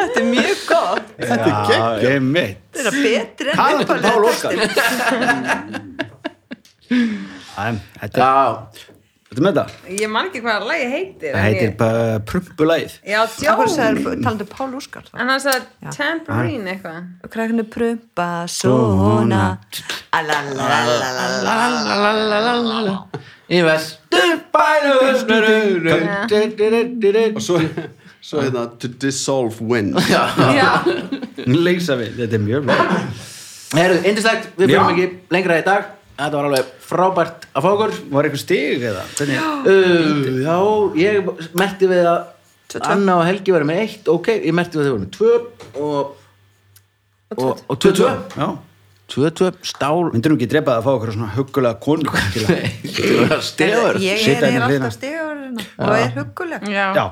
Speaker 2: Þetta er mjög gott
Speaker 4: Þetta er geggjum Ég er mitt
Speaker 2: Þetta er betri en
Speaker 4: Talandi um
Speaker 2: uppalega
Speaker 4: Pál Óskar Æ, Þetta
Speaker 1: Já,
Speaker 4: Þetta með þetta
Speaker 5: Ég man ekki hvað að lagi heitir.
Speaker 4: Það
Speaker 5: en
Speaker 4: heitir
Speaker 5: ég-
Speaker 4: bara prumpulæð
Speaker 5: Já,
Speaker 2: Akkur
Speaker 5: djó.
Speaker 2: sagði talandi um Pál Óskar þá.
Speaker 5: En hann sagði tambourine eitthvað.
Speaker 2: Krakkinu prumpa svona Alalalala
Speaker 1: í vestu bænum
Speaker 3: Og svo, svo hérna, to dissolve wind.
Speaker 5: Já.
Speaker 4: Leysa við, þetta er mjög vel
Speaker 1: Herðu, indislegt, við fyrir
Speaker 4: Já.
Speaker 1: ekki lengra í dag Þetta var alveg frábært að fá okkur
Speaker 4: Var eitthvað stig eða? Hvernig,
Speaker 5: <gasps>
Speaker 1: Uh, já, ég merkti við að
Speaker 2: tvö.
Speaker 1: Anna og Helgi verið með eitt ok, ég merkti við að þau voru með tvö og, og, og tvö tvö
Speaker 4: já
Speaker 1: tvö tvö, stál
Speaker 4: Myndir nú ekki drepa það að fá okkur svona huggulega konu til að
Speaker 1: stegur já,
Speaker 2: Ég
Speaker 4: Sita
Speaker 2: er, er
Speaker 4: hérna hliðina.
Speaker 2: alltaf stegurinn og er hugguleg
Speaker 5: Já.
Speaker 4: Já,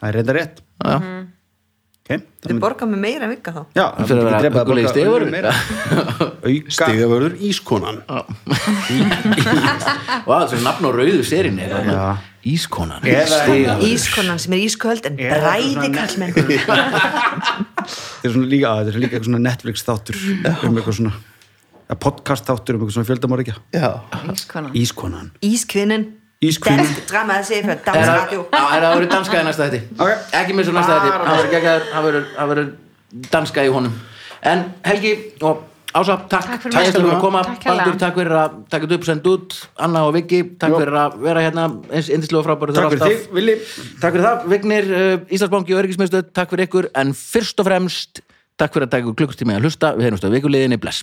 Speaker 4: það er reynda rétt
Speaker 1: já,
Speaker 4: okay. það
Speaker 2: Þið
Speaker 4: myndi-
Speaker 2: borga mig meira en vika þá
Speaker 4: Já,
Speaker 1: Fyrir að vera hugguleg í
Speaker 4: borga
Speaker 1: stigavörður.
Speaker 4: önnur meira. Auka
Speaker 3: Stigavörður ískonan.
Speaker 1: og það er svona nafn á rauðu serinni
Speaker 4: Já.
Speaker 1: ískonan
Speaker 4: Eða-
Speaker 1: Stigaverður.
Speaker 2: Ískonan sem er ísköld en
Speaker 4: Ég er
Speaker 2: bræði
Speaker 4: svona
Speaker 2: kallmenn
Speaker 4: Þetta er svona líka, á, þetta er líka eitthvað svona Netflix þáttur um eitthvað svona eða podcast þáttur um eitthvað svona fjöldamorikja
Speaker 3: Já.
Speaker 5: Ískonan.
Speaker 4: Ískonan
Speaker 2: Ískvinnin
Speaker 4: Ískvinnin.
Speaker 2: Dansk dramaði sig fyrir
Speaker 1: Er það
Speaker 2: dansradio
Speaker 1: á, er það verið danska í næsta þetta
Speaker 4: Ok.
Speaker 1: ekki með svo næsta þetta það verið geggjaður, það verður- það verður danska í honum en Helgi og Ása, takk
Speaker 5: Takk fyrir
Speaker 1: takk
Speaker 5: mig.
Speaker 1: fyrir að koma,
Speaker 5: Takk hérlega.
Speaker 1: Baldur, takk fyrir að taka þetta upp, senda út, Anna og Viki takk
Speaker 4: Jó.
Speaker 1: fyrir að vera hérna, eins indislega frábæru
Speaker 4: Takk fyrir þig, Vili
Speaker 1: takk fyrir það, Vignir, uh, Íslandsbanki og Öryggismiðstöð takk fyrir ykkur, en fyrst og fremst takk fyrir að taka ykkur klukkustíma í að hlusta, við heyrumst á vikuliðinni, bless